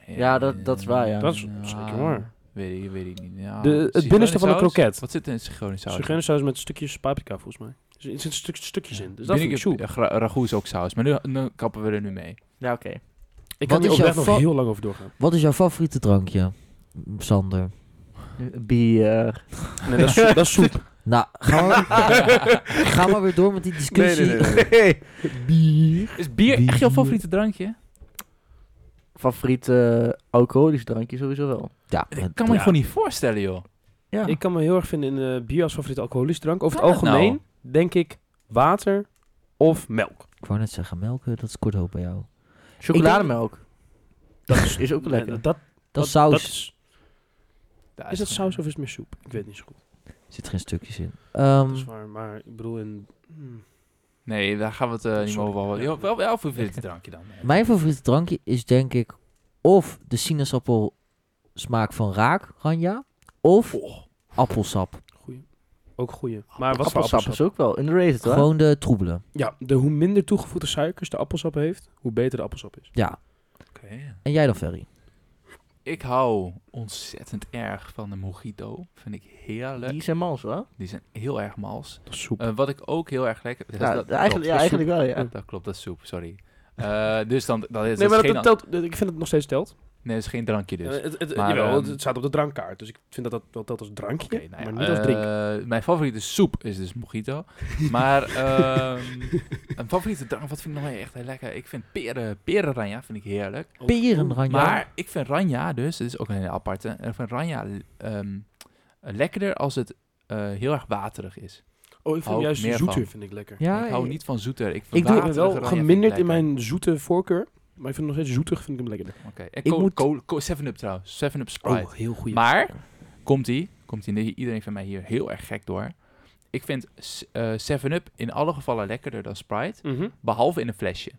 Ja, dat- dat is waar, ja. Dat is zeker waar. Weet ik, weet ik niet. Ja, De- het binnenste van een zigeunersaus? kroket. Wat zit er in zigeunersaus? Zigeunersaus met stukjes paprika, volgens mij. Dus Er zitten stuk- stukjes in, dus dat vind ik Binnen- soep. eh, gra- Ragout is ook saus, maar nu, nu kappen we er nu mee. Ja, oké. Ik Wat kan hier is jouw oprecht nog fa- heel lang over doorgaan. Wat is jouw favoriete drankje, Sander? Bier. Nee, dat is soep. Dat is soep. Nou, ga maar, ga maar weer door met die discussie. Bier. Is bier echt jouw favoriete drankje? Favoriete eh, alcoholisch drankje sowieso wel. Ja, Ik maar kan me Ja. gewoon niet voorstellen, joh. Ja. Ik kan me heel erg vinden in eh, bier als favoriete alcoholische drank. Over het Kan dat algemeen nou? denk ik water of melk. ik wou net zeggen, melken, dat scoort hoop bij jou. Chocolademelk. Dat is ook wel lekker. Dat, dat, Dat is saus. is, Daar is dat gewoon- saus of is het meer soep? Ik weet niet zo goed. Er zit geen stukjes in. Ehm, Dat is waar, maar ik bedoel in... hmm. Nee, daar gaan we het eh, niet Oh, meer Sorry. over hebben. Ja. Joh, Wel, wel favoriete drankje dan. mijn favoriete drankje is denk ik of de sinaasappel smaak van raak, Ranja, of appelsap. Goeie. Ook goeie. Maar wat voor Appelsap appelsap? is ook wel underrated, hoor. Gewoon de troebele. Ja, de, hoe minder toegevoegde suikers de appelsap heeft, hoe beter de appelsap is. Ja. Oké. En jij dan, Ferry? Ik hou ontzettend erg van de mojito. Vind ik heerlijk. Die zijn mals, hoor. Die zijn heel erg mals. Dat is soep. Eh, wat ik ook heel erg lekker... Ja, dat- eigenlijk, ja, dat is soep. eigenlijk wel, ja. Dat klopt, dat is soep, sorry. Eh, dus dan, dan is, nee, maar dat is dat, geen, dat telt, dat- ik vind dat het nog steeds telt. nee, dat is geen drankje dus. Eh, het, het, maar, jawel, ehm, het staat op de drankkaart, dus ik vind dat dat wel telt als drankje, Oké, nou ja, maar niet als drinken. eh, mijn favoriete soep is dus mojito. maar ehm, een favoriete drank, wat vind ik nog wel echt heel lekker? Ik vind peren, perenranja vind ik heerlijk. Peren, Ranja. Maar ik vind ranja dus, dit is ook een hele aparte. Ik vind ranja ehm, lekkerder als het eh, heel erg waterig is. Oh, ik vind Hou hem ik juist meer zoeter, van. vind ik lekker. ja, eh, ik hou niet van zoeter. Ik, vind Ik doe- Ik ben waterige wel ranja vind ik geminderd in lekker. mijn zoete voorkeur, maar ik vind hem nog steeds zoeter, vind ik Oh. hem lekkerder. Oké, en Ik ik moet- moet... 7-Up trouwens, 7-Up Sprite. heel goed. Maar, komt-ie, komt-ie, iedereen vindt mij hier heel erg gek door. Ik vind s- eh, 7-Up in alle gevallen lekkerder dan Sprite, behalve in een flesje.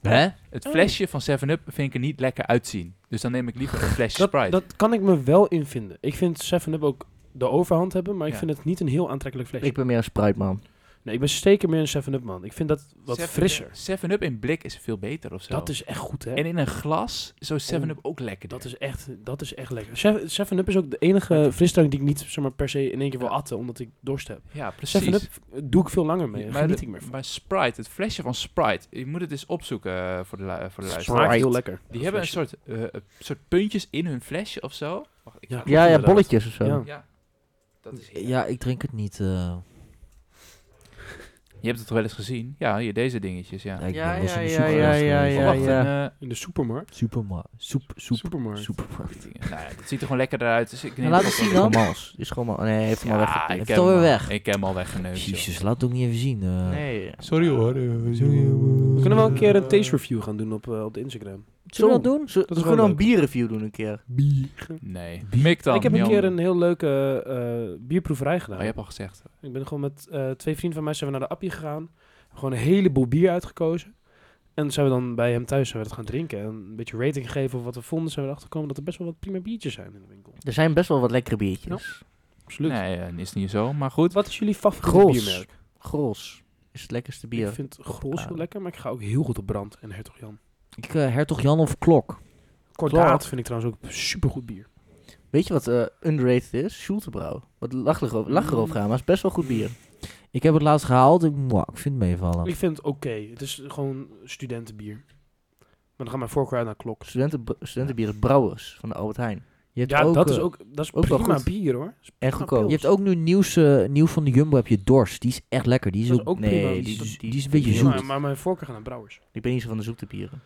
Hè? Het Oh. flesje van 7-Up vind ik er niet lekker uitzien. Dus dan neem ik liever een flesje dat, Sprite. dat kan ik me wel in vinden. Ik vind 7-Up ook de overhand hebben, maar ik Ja. vind het niet een heel aantrekkelijk flesje. Ik ben meer een spruitman. Nee, ik ben zeker meer een 7-up man. Ik vind dat wat Seven- frisser. 7-Up in blik is veel beter of zo. Dat is echt goed, hè? en in een glas zo 7-Up ook lekker. dat is echt, dat is echt lekker. Seven- 7-Up is ook de enige frisdrank die ik niet zeg maar, per se in één keer wil atten, omdat ik dorst heb. ja, precies. 7-Up doe ik veel langer mee. Ja, Daar geniet de- ik meer van. maar Sprite, het flesje van Sprite, je moet het eens opzoeken eh, voor de, lu- voor de luisteraar. Smaakt heel lekker. Die hebben een soort, eh, een soort puntjes in hun flesje of zo. Wacht, ik Ja. ga- Ja, ja, inderdaad. bolletjes of zo. Ja. ja, dat is heerlijk. Ja, ik drink het niet. eh, ja, Je hebt het toch wel eens gezien? Ja, hier, deze dingetjes, ja. ik ben Ja, wel eens in de ja, supermarkt ja, ja, geweest. Oh, wacht, ja. een, eh, In de supermarkt. Supermarkt. Soep, soep, Supermarkt. supermarkt. dingen. nou, ja, het ziet er gewoon lekker uit. Dus ik neem Nou, laat het het ook zien wel. dan. Mals. Die is gewoon mal. Nee, heeft hem al Ja, weg. ik Heeft heb het hem alweer al- weg. Ik heb hem al weggeneukt. joh. Jezus, laat het ook niet even zien. eh. Nee. Sorry hoor. We kunnen wel een keer een taste review gaan doen op, eh, op de Instagram. Zullen we Zo. dat doen? Zullen is we wel gewoon een leuk. bierreview doen een keer? Nee. Mik dan. ik heb een Jan. keer een heel leuke eh, bierproeverij gedaan. Oh, je hebt al gezegd. Ik ben gewoon met eh, twee vrienden van mij zijn we naar de appie gegaan. Gewoon een heleboel bier uitgekozen. En zijn we dan bij hem thuis zijn we dat gaan drinken. En een beetje rating gegeven of wat we vonden. Zijn we erachter gekomen dat er best wel wat prima biertjes zijn in de winkel. Er zijn best wel wat lekkere biertjes. Absoluut. Nee, eh, is niet zo. Maar goed. Wat is jullie favoriete Gros. biermerk? Gros is het lekkerste bier. Ik vind Gros heel Ah. lekker, maar ik ga ook heel goed op Brand en Hertog Jan. Ik, eh, Hertog Jan of Klok. Kordaat vind ik trouwens ook supergoed bier. Weet je wat eh, underrated is? Schultebrouw. Wat lacherof gaan, maar is best wel goed bier. Ik heb het laatst gehaald. Ik, mwah, ik vind het meevallen. Ik vind het oké. Het is gewoon studentenbier. Maar dan gaat mijn voorkeur uit naar Klok. Studenten, studentenbier is Brouwers van de Albert Heijn. Je hebt Ja, ook, dat is eh, ook, dat is ook wel prima goed. bier hoor. Dat is En prima goedkoop. pils. Je hebt ook nu nieuws, eh, nieuw van de Jumbo. Heb je Dorst. Die is echt lekker. Die is Dat ook, is ook nee, prima. Die, Die- is, die- die is een beetje die- zoet. Maar, maar mijn voorkeur gaat naar Brouwers. Ik ben niet zo van de zoete bieren.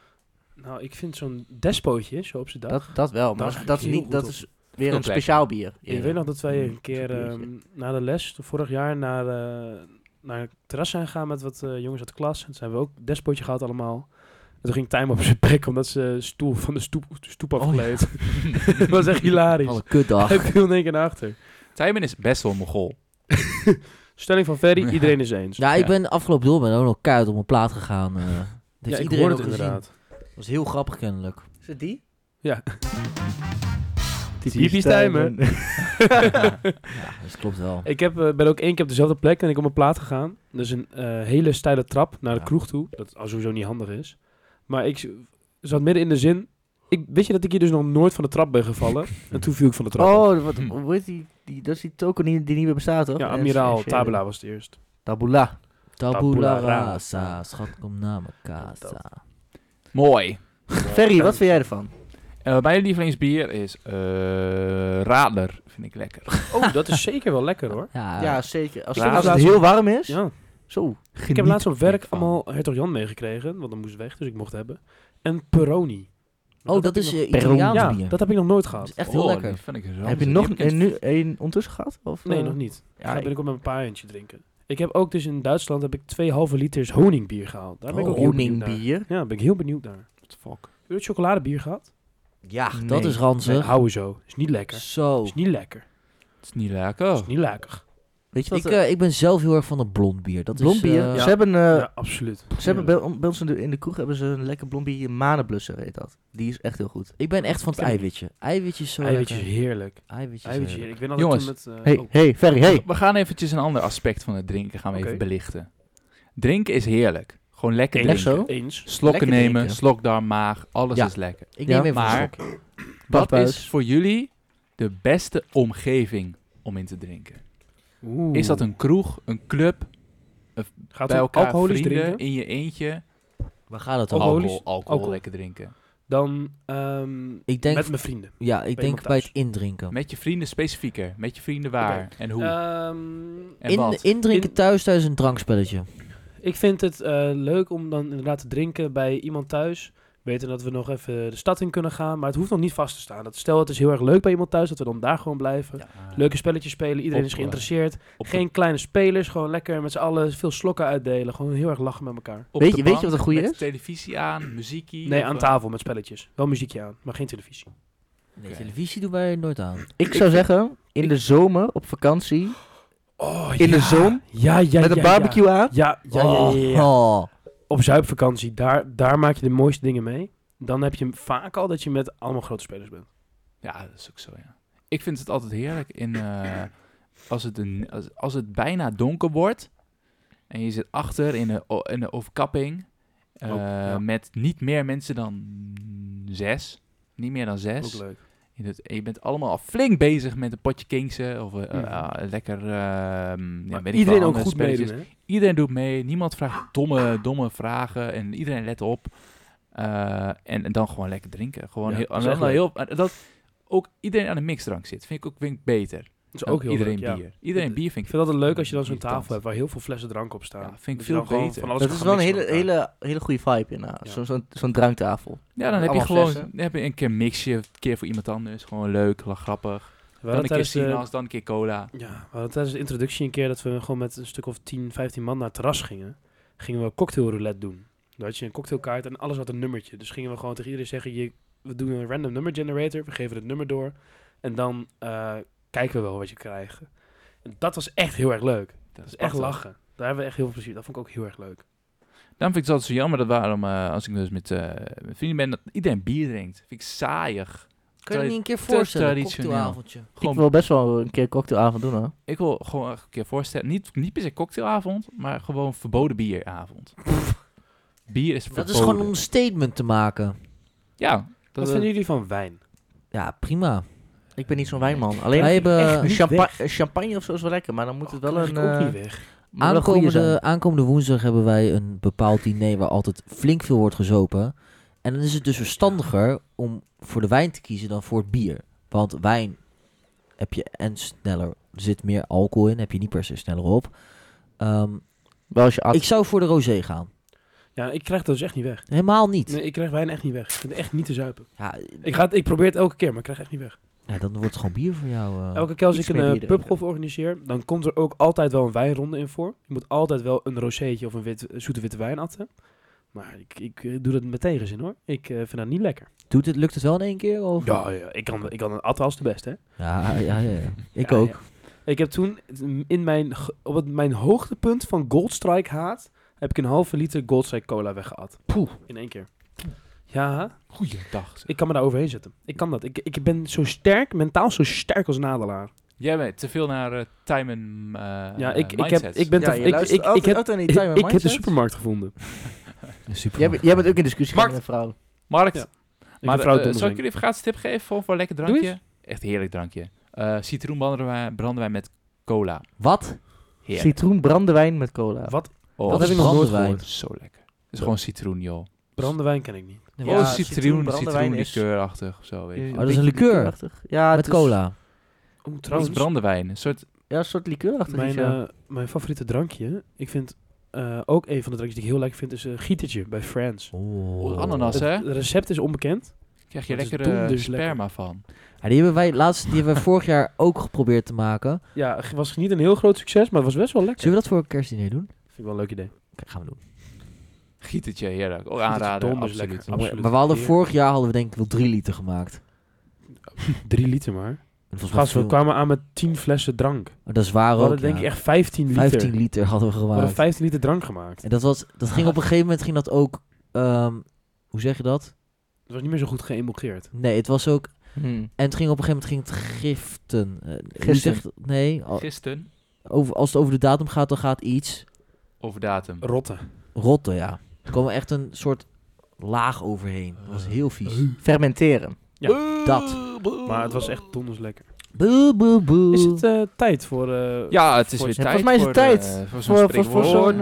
Nou, ik vind zo'n despootje, zo op z'n dag. Dat, dat wel, maar Daar dat, ga dat, ik is, heel niet, goed dat op. is weer een lekker. speciaal bier. Ik weet nog dat wij Mm, een keer zo'n ehm, biertje. na de les, vorig jaar, naar, eh, naar het terras zijn gegaan met wat eh, jongens uit de klas. En toen hebben we ook despootje gehad allemaal. En toen ging Tijm op zijn prik omdat ze stoel van de stoep, de stoep afgleed. dat was echt hilarisch. Alle kutdag. Hij viel in één keer naar achter. Tijmen is best wel een mogol. Stelling van Ferry, Ja. iedereen is eens. Ja, Nou, ik Ja. ben afgelopen door ben ook nog kuit op mijn plaat gegaan. eh. Dat heeft Ja, ik iedereen hoor het ook gezien. inderdaad. Dat was heel grappig kennelijk. Is het die? Ja. Typisch Tijmen. Oh, Ja, dat klopt wel. Ik heb, eh, ben ook één keer op dezelfde plek en ik op mijn plaat gegaan. Dat is een eh, hele steile trap naar de Ja. kroeg toe. Dat al sowieso niet handig is. Maar ik z- zat midden in de zin. Ik, weet je dat ik hier dus nog nooit van de trap ben gevallen? en toen viel ik van de trap. af. Oh, wat, Hm. hoe heet die, die? Dat is die token die, die niet meer bestaat, toch? ja, Eh, admiraal Sheridan. Tabula was het eerst. Tabula. Tabula Tabula rasa. rasa, schat kom naar mijn casa. Mooi. Ferry, wat vind jij ervan? Eh, mijn lievelingsbier is eh Radler. Vind ik lekker. Oh, dat is zeker wel lekker hoor. Ja, ja, zeker. Als, Ik heb als het laatst- heel warm is. Ja. Zo. Ik heb laatst op werk ervan. allemaal Hertog Jan meegekregen. Want dan moest het weg, dus ik mocht het hebben. En Peroni. oh, dat heb ik is nog- eh, Italiaans Ja, bier. dat heb ik nog nooit Dat is gehad. echt heel Oh, lekker. die vind ik zo. Heb je nog een, nu een ondertussen gehad? Of, Dus- Nee, eh, nog niet. ja, Ja, dan ik- ben ik ook met een paar eentje drinken. Ik heb ook dus in Duitsland heb ik twee halve liters honingbier gehaald. Daar ben ik Oh, ook heel benieuwd naar. honingbier. Ja, daar ben ik heel benieuwd naar. Fuck. Heb je het chocoladebier gehad? Ja, dat Nee. is ranzig. Nee, hou zo. Is niet lekker. Zo. Is niet lekker. Het is niet lekker. Is niet lekker. Weet je wat? Ik, eh, eh, ik ben zelf heel erg van het blond bier. Dat blond is, bier. eh, ja. Ze hebben, eh, ja, absoluut. ze hebben bij, bij ons in de, in de kroeg hebben ze een lekker blond bier. Manenblusser heet dat. Die is echt heel goed. Ik ben echt van het Ken ik. eiwitje. Eiwitje is zo Eiwitjes lekker. heerlijk. Eiwitje is Eiwitjes heerlijk. heerlijk. Ik ben altijd Jongens. toen met... eh, Hey, oh, hey, Ferry, hey. We gaan eventjes een ander aspect van het drinken gaan we Oké. even belichten. Drinken is heerlijk. Gewoon lekker eens. drinken. zo? Eens. Slokken Lekker nemen, drinken. slokdarm, maag, alles Ja. is lekker. Ik Ja, neem even maar- een slok. Wat Badbuis. is voor jullie de beste omgeving om in te drinken? Is dat een kroeg, een club, Gaat bij om elkaar alcoholisch vrienden, drinken? in je eentje? Waar gaat het Alcoholisch? over? Alcohol, alcohol, Alcohol. lekker drinken. Dan ehm, Ik denk, met mijn vrienden. ja, ik bij denk iemand bij thuis. het indrinken. Oh. Met je vrienden specifieker, met je vrienden waar en hoe Ehm, en In, wat. indrinken In- thuis, thuis een drankspelletje. Ik vind het eh, leuk om dan inderdaad te drinken bij iemand thuis. Weten dat we nog even de stad in kunnen gaan. Maar het hoeft nog niet vast te staan. Dat, stel, het is heel erg leuk bij iemand thuis. Dat we dan daar gewoon blijven. Ja. Leuke spelletjes spelen. Iedereen is Op- geïnteresseerd. Op de- Geen kleine spelers. Gewoon lekker met z'n allen veel slokken uitdelen. Gewoon heel erg lachen met elkaar. op Weet de je- weet je bank wat een goeie met is? televisie aan, muziekie. Nee, of, aan eh, tafel met spelletjes. Wel muziekje aan, maar geen televisie. Nee, Oké. televisie doen wij nooit aan. Ik zou zeggen, in de zomer op vakantie, Oh, in de zon, Ja, ja, met een ja, barbecue aan. Ja, ja, ja, ja, ja, ja. Oh, Op zuipvakantie, daar, daar maak je de mooiste dingen mee. Dan heb je vaak al dat je met allemaal grote spelers bent. Ja, dat is ook zo, ja. Ik vind het altijd heerlijk in, eh, als, het een, als, als het bijna donker wordt En je zit achter in een, o- in een overkapping. eh, Ook, ja. Met niet meer mensen dan zes. Niet meer dan zes. Ook leuk. Je, doet- je bent allemaal al flink bezig met een potje kinksen. Of eh, eh, Mhm. ah, lekker. ehm, ja, Maar weet ik iedereen wel, ook andere goed spelletjes. meedoen, hè? Iedereen doet mee. Niemand vraagt domme, domme vragen. En iedereen let op. Eh, en, en dan gewoon lekker drinken. Gewoon Ja, heel, dat is en dan echt leuk. heel, en dat ook iedereen aan de mixdrank zit. Vind ik ook vind ik beter. Dat is Dan ook heel Nou, iedereen leuk, ja. bier. Iedereen Ik- bier vind Ik ik, vind het altijd leuk als je dan zo'n irritant. tafel hebt waar heel veel flessen drank op staan. Ja, vind ik Dat je veel dan gewoon beter. van alles dat kan is gaan wel een hele, mixen met elkaar. hele, hele goede vibe in. nou. Ja. Zo'n zo'n- zo'n dranktafel. Ja, dan heb je Allemaal gewoon flessen. dan heb je een keer mixje, een keer voor iemand anders. Gewoon leuk, la- grappig. We Dan hadden een keer tijdens de- eh, sinaas, dan een keer cola. Ja, we hadden tijdens de introductie een keer dat we gewoon met een stuk of 10, 15 man naar het terras gingen. Gingen we cocktailroulette doen. Dan had je een cocktailkaart en alles had een nummertje. Dus gingen we gewoon tegen iedereen zeggen, je, we doen een random number generator. We geven het nummer door. En dan eh, kijken we wel wat je krijgt. En dat was echt heel erg leuk. Dat Dat is echt lachen. Daar hebben we echt heel veel plezier. Dat vond ik ook heel erg leuk. Daarom vind ik het altijd zo jammer dat waarom, eh, als ik dus met, eh, met vrienden ben, dat iedereen bier drinkt. Vind ik saaiig. Kan je Tra- niet een keer te voorstellen, een traditioneel. cocktailavondje? Gewoon, Ik wil best wel een keer cocktailavond doen hoor. ik wil gewoon echt een keer voorstellen, niet, niet per se cocktailavond, maar gewoon verboden bieravond. bier is verboden. Dat is gewoon om een statement te maken. Ja, Wat dat, eh, vinden jullie van wijn? Ja, prima. Ik ben niet zo'n wijnman. Alleen Wij hebben een eh, champa- een champagne of zo is wel lekker, maar dan moet het wel Krijg een... Oh, ik ook eh, niet weg. moet wel een goeie aankomende, zijn. aankomende woensdag hebben wij een bepaald diner waar altijd flink veel wordt gezopen. En dan is het dus verstandiger om voor de wijn te kiezen dan voor het bier. Want wijn heb je en sneller, er zit meer alcohol in, heb je niet per se sneller op. Ehm, Wel als je at- ik zou voor de rosé gaan. Ja, ik krijg dat dus echt niet weg. Helemaal niet. Nee, ik krijg wijn echt niet weg. Ik vind het echt niet te zuipen. Ja, Ik, ga het, ik probeer het elke keer, maar ik krijg echt niet weg. ja, dan wordt het gewoon bier voor jou. eh. Elke keer als iets ik een meer eh, bier drinken. pubgolf organiseer, dan komt er ook altijd wel een wijnronde in voor. Je moet altijd wel een roséetje of een wit, eh, zoete witte wijn atten. Maar ik, ik eh, doe dat met tegenzin hoor. Ik eh, vind dat niet lekker. Doet het, lukt het wel in één keer? Of? Ja, ja ik, kan, ik kan een atten als de beste. Hè? ja, ja, ja, ja. Ik Ja, ook. ja. Ik heb toen in mijn, ge- op het, mijn hoogtepunt van Goldstrike haat, heb ik een halve liter Goldstrike cola weggeat. Poeh. In één keer. Ja, Goeiedag. zeg. ik kan me daar overheen zetten. Ik kan dat. Ik, ik ben zo sterk, mentaal zo sterk als Nadelaar. Jij bent te veel naar eh, time en eh ja, ik, ik, heb, mindsets. ik ben Ja, te- je ik, ik, luistert ik, altijd- heb, altijd aan die ik, time and ik heb de mindset. supermarkt gevonden. Super. Jij, bent- jij bent ook in discussie Mark. gegaan met een vrouw. Markt, Ja. mevrouw Maar eh, zal ik Dondersink. jullie een vergaatstip geven voor, voor een lekker eens. drankje? Echt heerlijk drankje. Eh citroenbrandewijn brandewijn met cola. Wat? Heerlijk. Citroen, brandewijn met cola. Wat? Oh, dat is heb ik nog nooit brandewijn? gehoord. Zo lekker. Het is gewoon citroen, joh. Brandewijn ken ik niet. Ja, oh, citroen, citroen, brandewijn is- citroenlikeurachtig of zo. Weet je. Eh, Oh, dat is een beetje liqueur. likeurachtig. Ja, dus- Met het is- cola. Oeh, Het is brandewijn. Een soort... Ja, een soort likeurachtig. mijn, iets, ja. eh, mijn favoriete drankje, ik vind eh, ook een van de drankjes die ik heel lekker vind, is een gietertje bij Friends. Oh. ananas, hè? Het recept is onbekend. Krijg je Dat is lekker donders sperma van. Ja, die hebben wij laatst, die hebben we vorig jaar ook geprobeerd te maken. Ja, het was niet een heel groot succes, maar het was best wel lekker. Zullen we dat voor een kerstdiner doen? Vind ik wel een leuk idee. Oké, gaan we doen. Gietertje, heerlijk. Ook aanraden, donders absoluut. lekker. Absoluut. Maar we hadden Heer. vorig jaar hadden we denk ik wel drie liter gemaakt. En Drie liter maar. volgens mij Gast, we veel- Oh, kwamen aan met 10 flessen drank. We Dat is waar hadden ook. denk ja. ik echt 15 liter. 15 liter hadden we we gemaakt. hadden 15 liter drank gemaakt. En dat, was, dat ging op een gegeven moment ging dat ook. ehm, hoe zeg je dat? Het was niet meer zo goed geëmulgeerd. Nee, het was ook. Hm. En het ging op een gegeven moment ging het giften. Eh, wie Gisten. zegt- nee, al- Gisteren, over, als het over de datum gaat, dan gaat iets over datum. Rotten. rotten, ja. Er kwam echt een soort laag overheen. Dat was heel vies. Fermenteren. Dat. Maar het was echt donders lekker. Boe, boe, boe. Is het eh, tijd voor... eh, Ja, het is weer Ja, tijd. volgens mij is het voor, tijd. eh, voor zo'n Voor, voor, voor spreekwoord.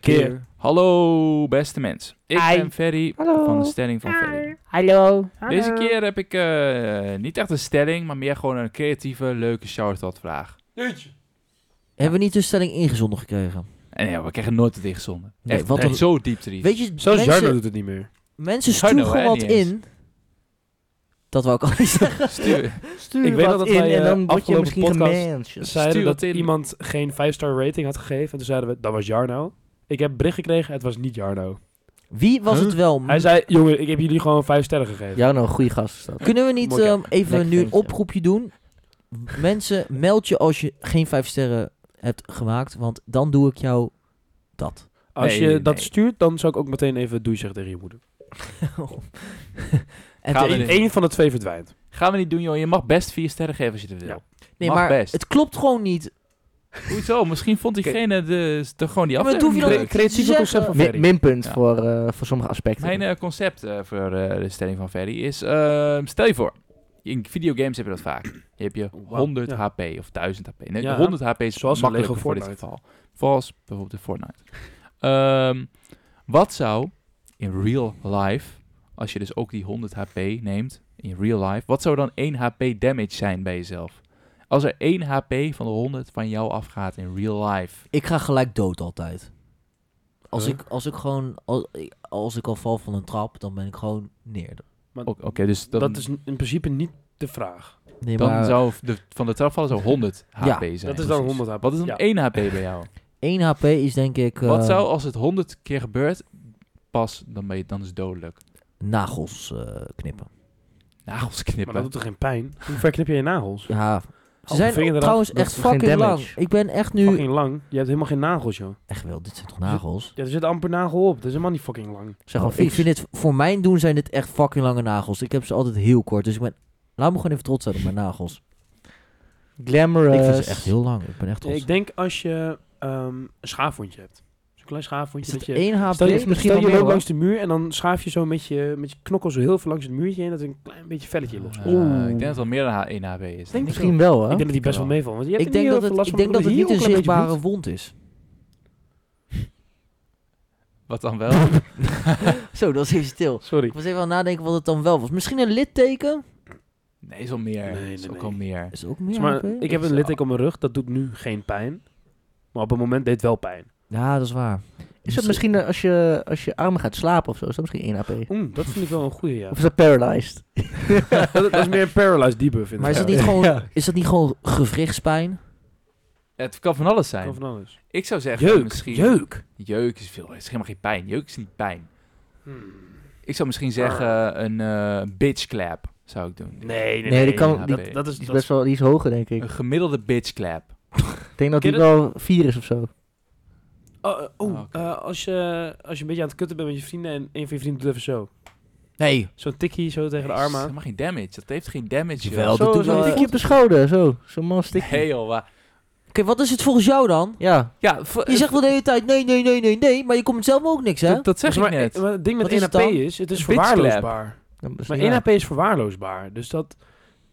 zo'n... eh, Hallo, beste mens. Ik Hi. ben Ferry Hallo. van de Stelling van Ferry. Hallo. Deze keer heb ik eh, niet echt een stelling, maar meer gewoon een creatieve, leuke shout-out vraag. Hebben we niet de stelling ingezonden gekregen? En ja, we krijgen nooit het ingezonden. Nee, echt, wat echt een- zo diep triest. Weet je, Zelfs Jarno mensen, doet het niet meer. mensen Jarno, sturen gewoon hè, wat niet eens. in. Dat wou ik al niet zeggen. Stuur- Stuur Ik ik weet weet nog dat in wij, en eh, dan word je afgelopen misschien podcast- gemanaged. zeiden Stuur dat het in. iemand geen 5-star rating had gegeven. En toen zeiden we, dat was Jarno. Ik heb bericht gekregen, het was niet Jarno. Wie was Huh? het wel? Hij zei, jongen, ik heb jullie gewoon 5 sterren gegeven. Jou nou een goede gast is dat. Kunnen we niet Mooi, ja. ehm, even Lekker nu een ventje. oproepje doen? Mensen, meld je als je geen vijf sterren hebt gemaakt, want dan doe ik jou dat. Als Nee, je nee, dat nee. stuurt, dan zou ik ook meteen even doei zeggen tegen je moeder. en Gaan te- we Eén dit- één van de twee verdwijnt. Gaan we niet doen, joh. Je mag best vier sterren geven als je dat wil. Ja. nee, mag maar best. het klopt gewoon niet Hoezo? Misschien vond diegene de, de, gewoon die Ja, maar dat hoef je aflevering nog leuk. Cre- creatieve zeggen- concept van Mi- Ferry. minpunt Ja. voor, eh, voor sommige aspecten. Mijn eh, concept eh, voor eh, de stelling van Ferry is... ehm, stel je voor, in videogames heb je dat vaak. Je hebt je 100 Oh, ja. HP of 1000 HP. Nee, Ja. 100 HP is Zoals in Zoals makkelijker Lego voor dit Fortnite. geval. Zoals bijvoorbeeld in Fortnite. Ehm, wat zou in real life, als je dus ook die 100 HP neemt in real life... Wat zou dan 1 HP damage zijn bij jezelf? Als er 1 HP van de 100 van jou afgaat in real life. Ik ga gelijk dood altijd. Als, Huh? ik, als ik gewoon, als, als ik al val van een trap, dan ben ik gewoon neer. O- Oké, dus dan, Dat is in principe niet de vraag. Nee, dan maar zou de, van de trap vallen zou 100 HP Ja, zijn. dat is dan 100 HP. Wat is dan Ja. 1 HP bij jou? 1 HP is denk ik eh, Wat zou als het 100 keer gebeurt, pas, dan, ben je, dan is het dodelijk. nagels eh, knippen. Nagels Maar dat knippen. doet toch geen pijn? Hoe ver knip je je nagels? Ja, ze Halve vinger zijn eraf, trouwens dat echt is geen fucking damage. lang. Ik ben echt nu... Fucking lang. Je hebt helemaal geen nagels, joh. Echt wel, dit zijn toch nagels? Ja, er zit amper nagel op. Dat is helemaal niet fucking lang. Zeg Oh, al ik vies. vind dit, voor mijn doen zijn dit echt fucking lange nagels. Ik heb ze altijd heel kort, dus ik ben... Laat me gewoon even trots zijn op mijn nagels. Glamorous. Ik vind Eh, ze echt heel lang. Ik ben echt trots. Ik denk als je ehm, een schaafwondje hebt. Zo'n klein schaafwondje. is dat het je, 1 HP? stel je, is misschien stel je wel loopt meer, hoor. langs de muur en dan schaaf je zo met je, met je knokkel zo heel veel langs het muurtje heen. Dat er een klein beetje velletje los. Eh, ik denk dat het meer dan 1 HP is. Denk ik. Misschien wel, hè? ik denk dat die best wel wel. meevalt. Want je hebt Ik er denk niet dat heel veel het, last ik van. denk dat het Er niet is een heel klein beetje zichtbare wond is. Wat dan wel? Zo, dat is even stil. bloed. Sorry. Ik was even aan het nadenken wat het dan wel was. Misschien een litteken? Nee, is al meer. Nee, is nee, ook nee. al meer. Is ook meer Zeg maar, HP? ik heb een litteken op mijn rug. Dat doet nu geen pijn. Maar op het moment deed het wel pijn. Ja, dat is waar. Is dat misschien eh, als je, als je armen gaat slapen of zo? Is dat misschien 1 AP? Oeh, dat vind ik wel een goede, ja. Of is dat paralyzed? dat is meer een paralyzed debuff in Maar is dat het niet geval. gewoon, is dat niet gewoon gewrichtspijn? Ja, het kan van alles zijn. Kan van alles. Ik zou zeggen, Jeuk, misschien... jeuk. Jeuk is veel. Het is helemaal geen pijn. Jeuk is niet pijn. Hmm. Ik zou Ah. misschien zeggen een eh, bitch clap zou ik doen. Nee, nee, nee. Nee, die kan- Dat- die- dat, is, Die is dat is- best wel die is hoger, denk ik. Een gemiddelde bitch clap. Ik denk dat ken die wel 4 is of zo. Oh, eh, oeh, Ah, oké. eh, als, je, als je een beetje aan het kutten bent met je vrienden en een van je vrienden doet even zo. Nee. Zo'n tikkie zo tegen de Dat is armen. helemaal geen damage. Dat heeft geen damage. Jawel, joh. dat Zo, doet zo'n wel- tikje op de schouder, zo. Zo'n man stikje. Nee, joh. wa- Oké, wat is het volgens jou dan? Ja, Ja, v- Je zegt wel de hele tijd nee, nee, nee, nee, nee, maar je komt zelf ook niks, hè? dat, dat zeg Ja, ik maar, net. eh, maar het ding met Wat is 1 het HP dan? is, het is Een verwaarloosbaar. dat is Maar niet 1 waar. HP is verwaarloosbaar. Dus dat,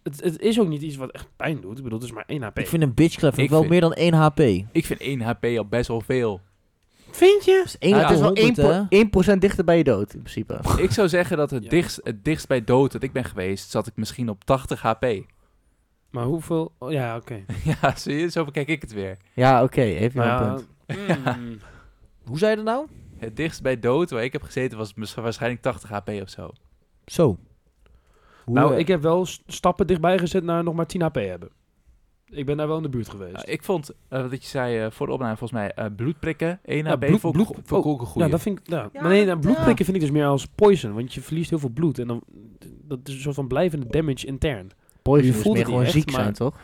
het, het is ook niet iets wat echt pijn doet. Ik bedoel, het is maar 1 HP. Ik vind een bitchclap Ik wel vind- meer dan 1 HP. Ik vind 1 HP al best wel veel. Vind je? Dus 1 Ja, op Het de is wel 100, hè? 1%, pro- 1% dichter bij je dood, in principe. Ik zou zeggen dat het, Ja. dichtst, het dichtst bij dood dat ik ben geweest, zat ik misschien op 80 HP. Maar hoeveel... oh, ja, oké. ja, zie je? Zo bekijk ik het weer. Ja, oké, even Nou een ja, punt. mm, Hoe zei je dat nou? Het dichtst bij dood waar ik heb gezeten was mis- waarschijnlijk 80 HP of zo. Zo. Hoe, Nou, eh, ik heb wel s- stappen dichtbij gezet naar nog maar 10 HP hebben. Ik ben daar wel in de buurt geweest. Nou, ik vond, eh, dat je zei eh, voor de opname volgens mij, eh, bloedprikken, 1 Ja, HP, bloed- vond ik bloed- oh, go- vond ik ook een goeie. Ja, dat vind ik. Ja. Ja, maar nee, nou, dat- bloedprikken vind ik dus meer als poison. Want je verliest heel veel bloed. En dan. Dat is een soort van blijvende damage intern. Poison Je is voelt meer het gewoon niet ziek echt, zijn, maar- toch?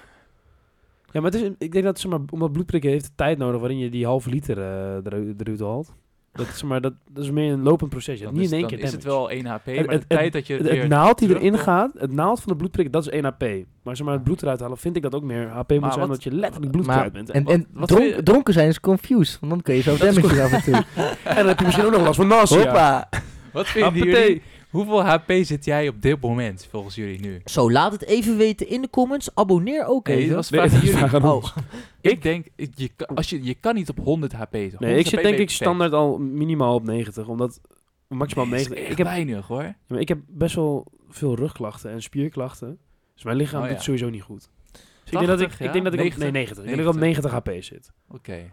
Ja, maar het is, ik denk dat zeg maar, omdat bloedprikken heeft tijd nodig waarin je die halve liter eh, eru- eruit haalt. Dat is, maar, dat, dat is meer een lopend proces. Je hebt niet Dan is, in één dan keer is het damage. wel 1 HP, maar Het- de het- tijd dat je het Het, het weer- naald die erin terugkomt. gaat, het naald van de bloedprikken, dat is 1 HP. Maar zeg maar het bloed eruit halen vind ik dat ook meer HP moet Maar zijn wat- dat je letterlijk bloed maar- kwijt bent. En, En, en wat dronk- wil je- dronken zijn is confused, want dan kun je zo damage doen af en toe. dan heb je misschien ook nog last van nausea. Hoppa! Wat vinden Hoppatee. jullie? Hoeveel HP zit jij op dit moment, volgens jullie nu? Zo, laat het even weten in de comments. Abonneer ook Nee, even. dat was Nee, vraag dat aan is jullie. vraag aan ons. Ik denk, ik- je, kan- als je, je kan niet op 100 HP. zijn. 100 Nee, ik HP zit denk ben je ik perfect. standaard al minimaal op 90. Omdat maximaal Nee, dat is 90. echt Ik heb, weinig hoor. Ja, maar ik heb best wel veel rugklachten en spierklachten. Dus mijn lichaam Oh, ja. doet sowieso niet goed. Dus ik denk dat ik, 80, ik, denk dat ik op, 90. nee, 90. Ik denk dat ik op 90 HP zit. Oké.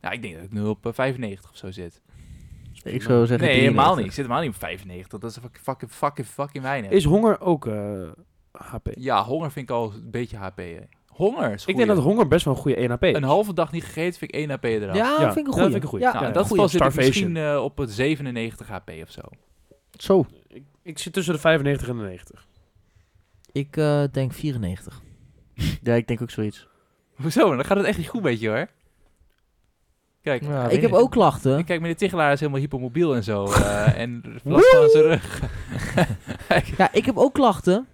Nou, ik denk dat ik nu op eh, 95 of zo zit. Ik zou zeggen Nee, helemaal 93. niet. Ik zit helemaal niet op 95. Dat is fucking, fucking, fucking, fucking weinig. Is honger ook eh, HP? Ja, honger vind ik al een beetje HP. hè. Honger is Ik denk dat goeie. honger best wel een goede 1 HP is. Een halve dag niet gegeten vind ik 1 HP eraf. Ah, Ja, Ja, vind ik dat een goeie. vind ik een goeie. Ja, Nou, ja, in dat goeie. geval zit ik Starvation. misschien eh, op het 97 HP of zo. Zo. Ik, ik zit tussen de 95 en de 90. Ik eh, denk 94. Ja, ik denk ook zoiets. Hoezo? Dan gaat het echt niet goed met je hoor. Kijk, Ja, weet ik heb niet. ook klachten. kijk, meneer Tichelaar is helemaal hypermobiel en zo. eh, en last van zijn rug. Ja, ik heb ook klachten.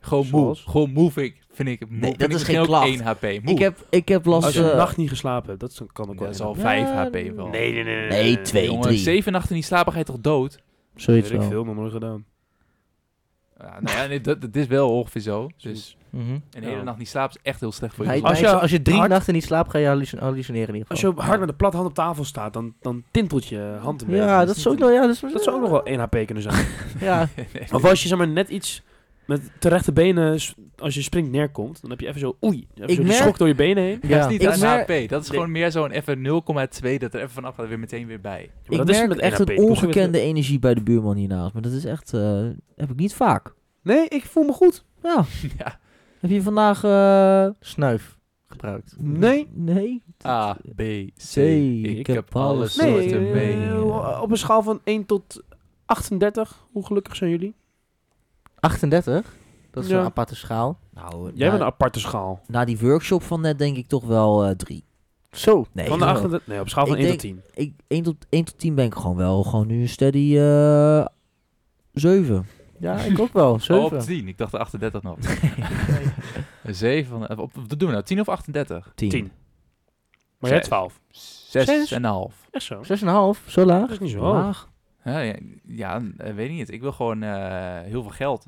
Gewoon moe. Zoals? Gewoon moe vind ik, vind vind ik, mo- Nee, dat vind ik is misschien geen ook klacht. 1 HP. Moe. Ik heb, ik heb last... Als je een eh, nacht niet geslapen hebt, dat is- kan ook wel. dat is al inderdaad. 5 Ja, HP wel. Nee, nee, nee. nee, nee, nee, nee. twee, Jongen, drie. zeven nachten in die slaap, dan ga je toch dood? Weet Zoiets ik wel. veel, nog nooit gedaan. Ja, nou ja, nee, dat, dat is wel ongeveer zo. Dus Mhm. een hele Ja. nacht niet slapen is echt heel slecht voor Maar je ik- Als Als gezondheid. je je, als je drie hard- nachten niet slaapt, ga je hallucin- hallucineren in ieder Als je Oh, geval. op- hard met de platte hand op tafel staat, dan, dan tintelt je hand een beetje. ja, dat is ook nog... Ja, dat, is, Dat zou ook nog wel 1 HP kunnen zijn. Ja, Of als je zeg maar net iets met terechte benen, s- als je springt neerkomt, dan heb je even zo, oei, even Ik zo die merk- schok door je benen heen. Dat ja. is niet Ik aan merk- HP. Dat is Nee. gewoon meer zo'n even 0,2 dat er even vanaf gaat weer meteen weer bij. Ja, maar Ik dat is merk met echt 1 een HP. Ik doe zo weer ongekende energie bij de buurman hiernaast. Maar dat is echt... eh, heb ik niet vaak. terug. Nee, ik voel me goed. Nou, ja. heb je vandaag... eh, Snuif gebruikt. Nee. Nee. A, B, C. Ik Ik heb heb alle alles Nee, soorten eh, mee. eh, op een schaal van 1 tot 38, hoe gelukkig zijn jullie? 38? Dat is Ja. een aparte schaal. Nou, Jij na, bent een aparte schaal. na die workshop van net denk ik toch wel eh, drie. Zo. Nee, van de toch 38, nee, op schaal van Ik 1 denk- tot 10. wel. Ik, 1, tot, 1 tot 10 ben ik gewoon wel gewoon nu een steady eh 7. Ja, ik ook wel. Oh, op 7. 10. Ik dacht 38 nog. 7 van... Op, wat doen we nou? 10 of 38? 10. 10. Maar jij Zes. 12. Zes? 6,5. Echt zo. 6,5. Zo laag. Dat is niet zo hoog. Laag. Ja, ja, ja, eh, weet niet. Ik wil gewoon eh, heel veel geld.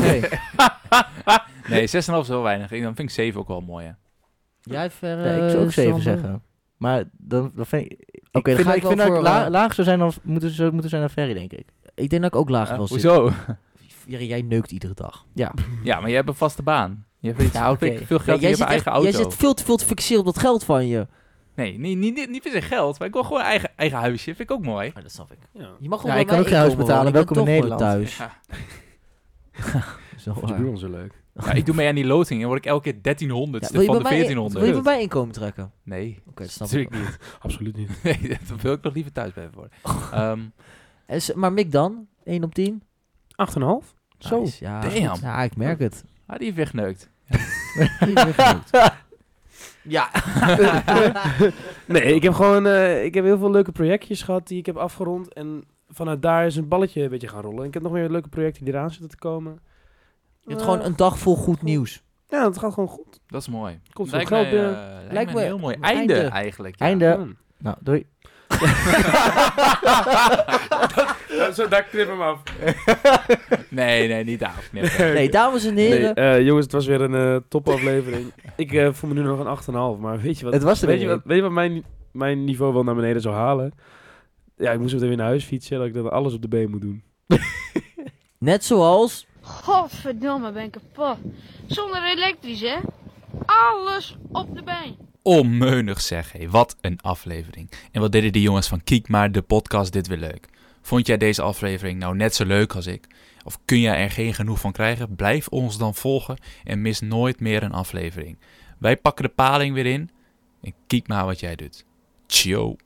Nee. Nee, 6,5 is wel weinig. Ik- Dan vind ik 7 ook wel mooi. Hè. Jij ver, Ja, ik zou ook 7 zeggen. Maar dan, dan vind ik... ik Oké, dan vind, ga Eh, ik ik wel vind dat voor, ik la- eh, laag zou zijn dan moeten, zou moeten zijn dan Ferry, denk ik. Ik denk dat ik ook laag Eh, wil zitten. hoezo? Ja, jij neukt iedere dag. Ja, maar jij hebt een vaste baan. Je hebt Ja, oké. veel- veel Ja, geld, jij, je hebt zit een echt- eigen auto. jij zit veel te veel te fixeren op dat geld van je. Nee, niet, niet, niet, niet per se geld, maar ik wil gewoon een eigen, eigen huisje. Vind ik ook mooi. Maar dat snap ik. Ja. Je mag Ja, gewoon ik kan ook geen huis betalen. Welkom in Nederland. thuis. Ja. Zo Vond je waar. buurman zo leuk? Ja, ik doe mee aan die loting en word ik elke keer 1300 Ja, ste wil, je van bij de mij, wil 1400. je bij mij inkomen trekken? Oké, Nee, dat snap ik. natuurlijk wel. niet. Absoluut niet. Nee, dat wil ik nog liever thuis blijven worden. Ehm, En s- maar Mick dan? 1 op 10? 8,5? Zo. ja, Damn. Ah, goed. Ja, ik merk het. ah, die heeft wegneukt. ja. Nee, ik heb gewoon eh, ik heb heel veel leuke projectjes gehad die ik heb afgerond. En vanuit daar is een balletje een beetje gaan rollen. En ik heb nog meer leuke projecten die eraan zitten te komen. Je hebt gewoon een dag vol goed nieuws. Ja, het gaat gewoon goed. Dat is mooi. Komt veel lijkt geld mij, binnen. eh, lijkt Lijkt me me- een heel mooi een einde, einde. eigenlijk. ja. Einde. Nou, doei. Zo, daar knip hem af. Nee, nee, niet afknippen. Nee, dames en Nee, heren. eh, jongens, het was weer een eh, topaflevering. ik eh, voel me nu nog een 8,5, maar weet je wat? Het was er weet, je weer wat weet je wat mijn, mijn niveau wel naar beneden zou halen? Ja, ik moest meteen weer naar huis fietsen, dat ik dan alles op de been moet doen. Net zoals... Godverdomme, ben ik kapot. Zonder elektrisch, hè? Alles op de been. Onmeunig Oh, zeg, hé. Wat een aflevering. En wat deden die jongens van Kiek maar de podcast dit weer leuk. Vond jij deze aflevering nou net zo leuk als ik? Of kun jij er geen genoeg van krijgen? Blijf ons dan volgen en mis nooit meer een aflevering. Wij pakken de paling weer in en kiek maar wat jij doet. Ciao.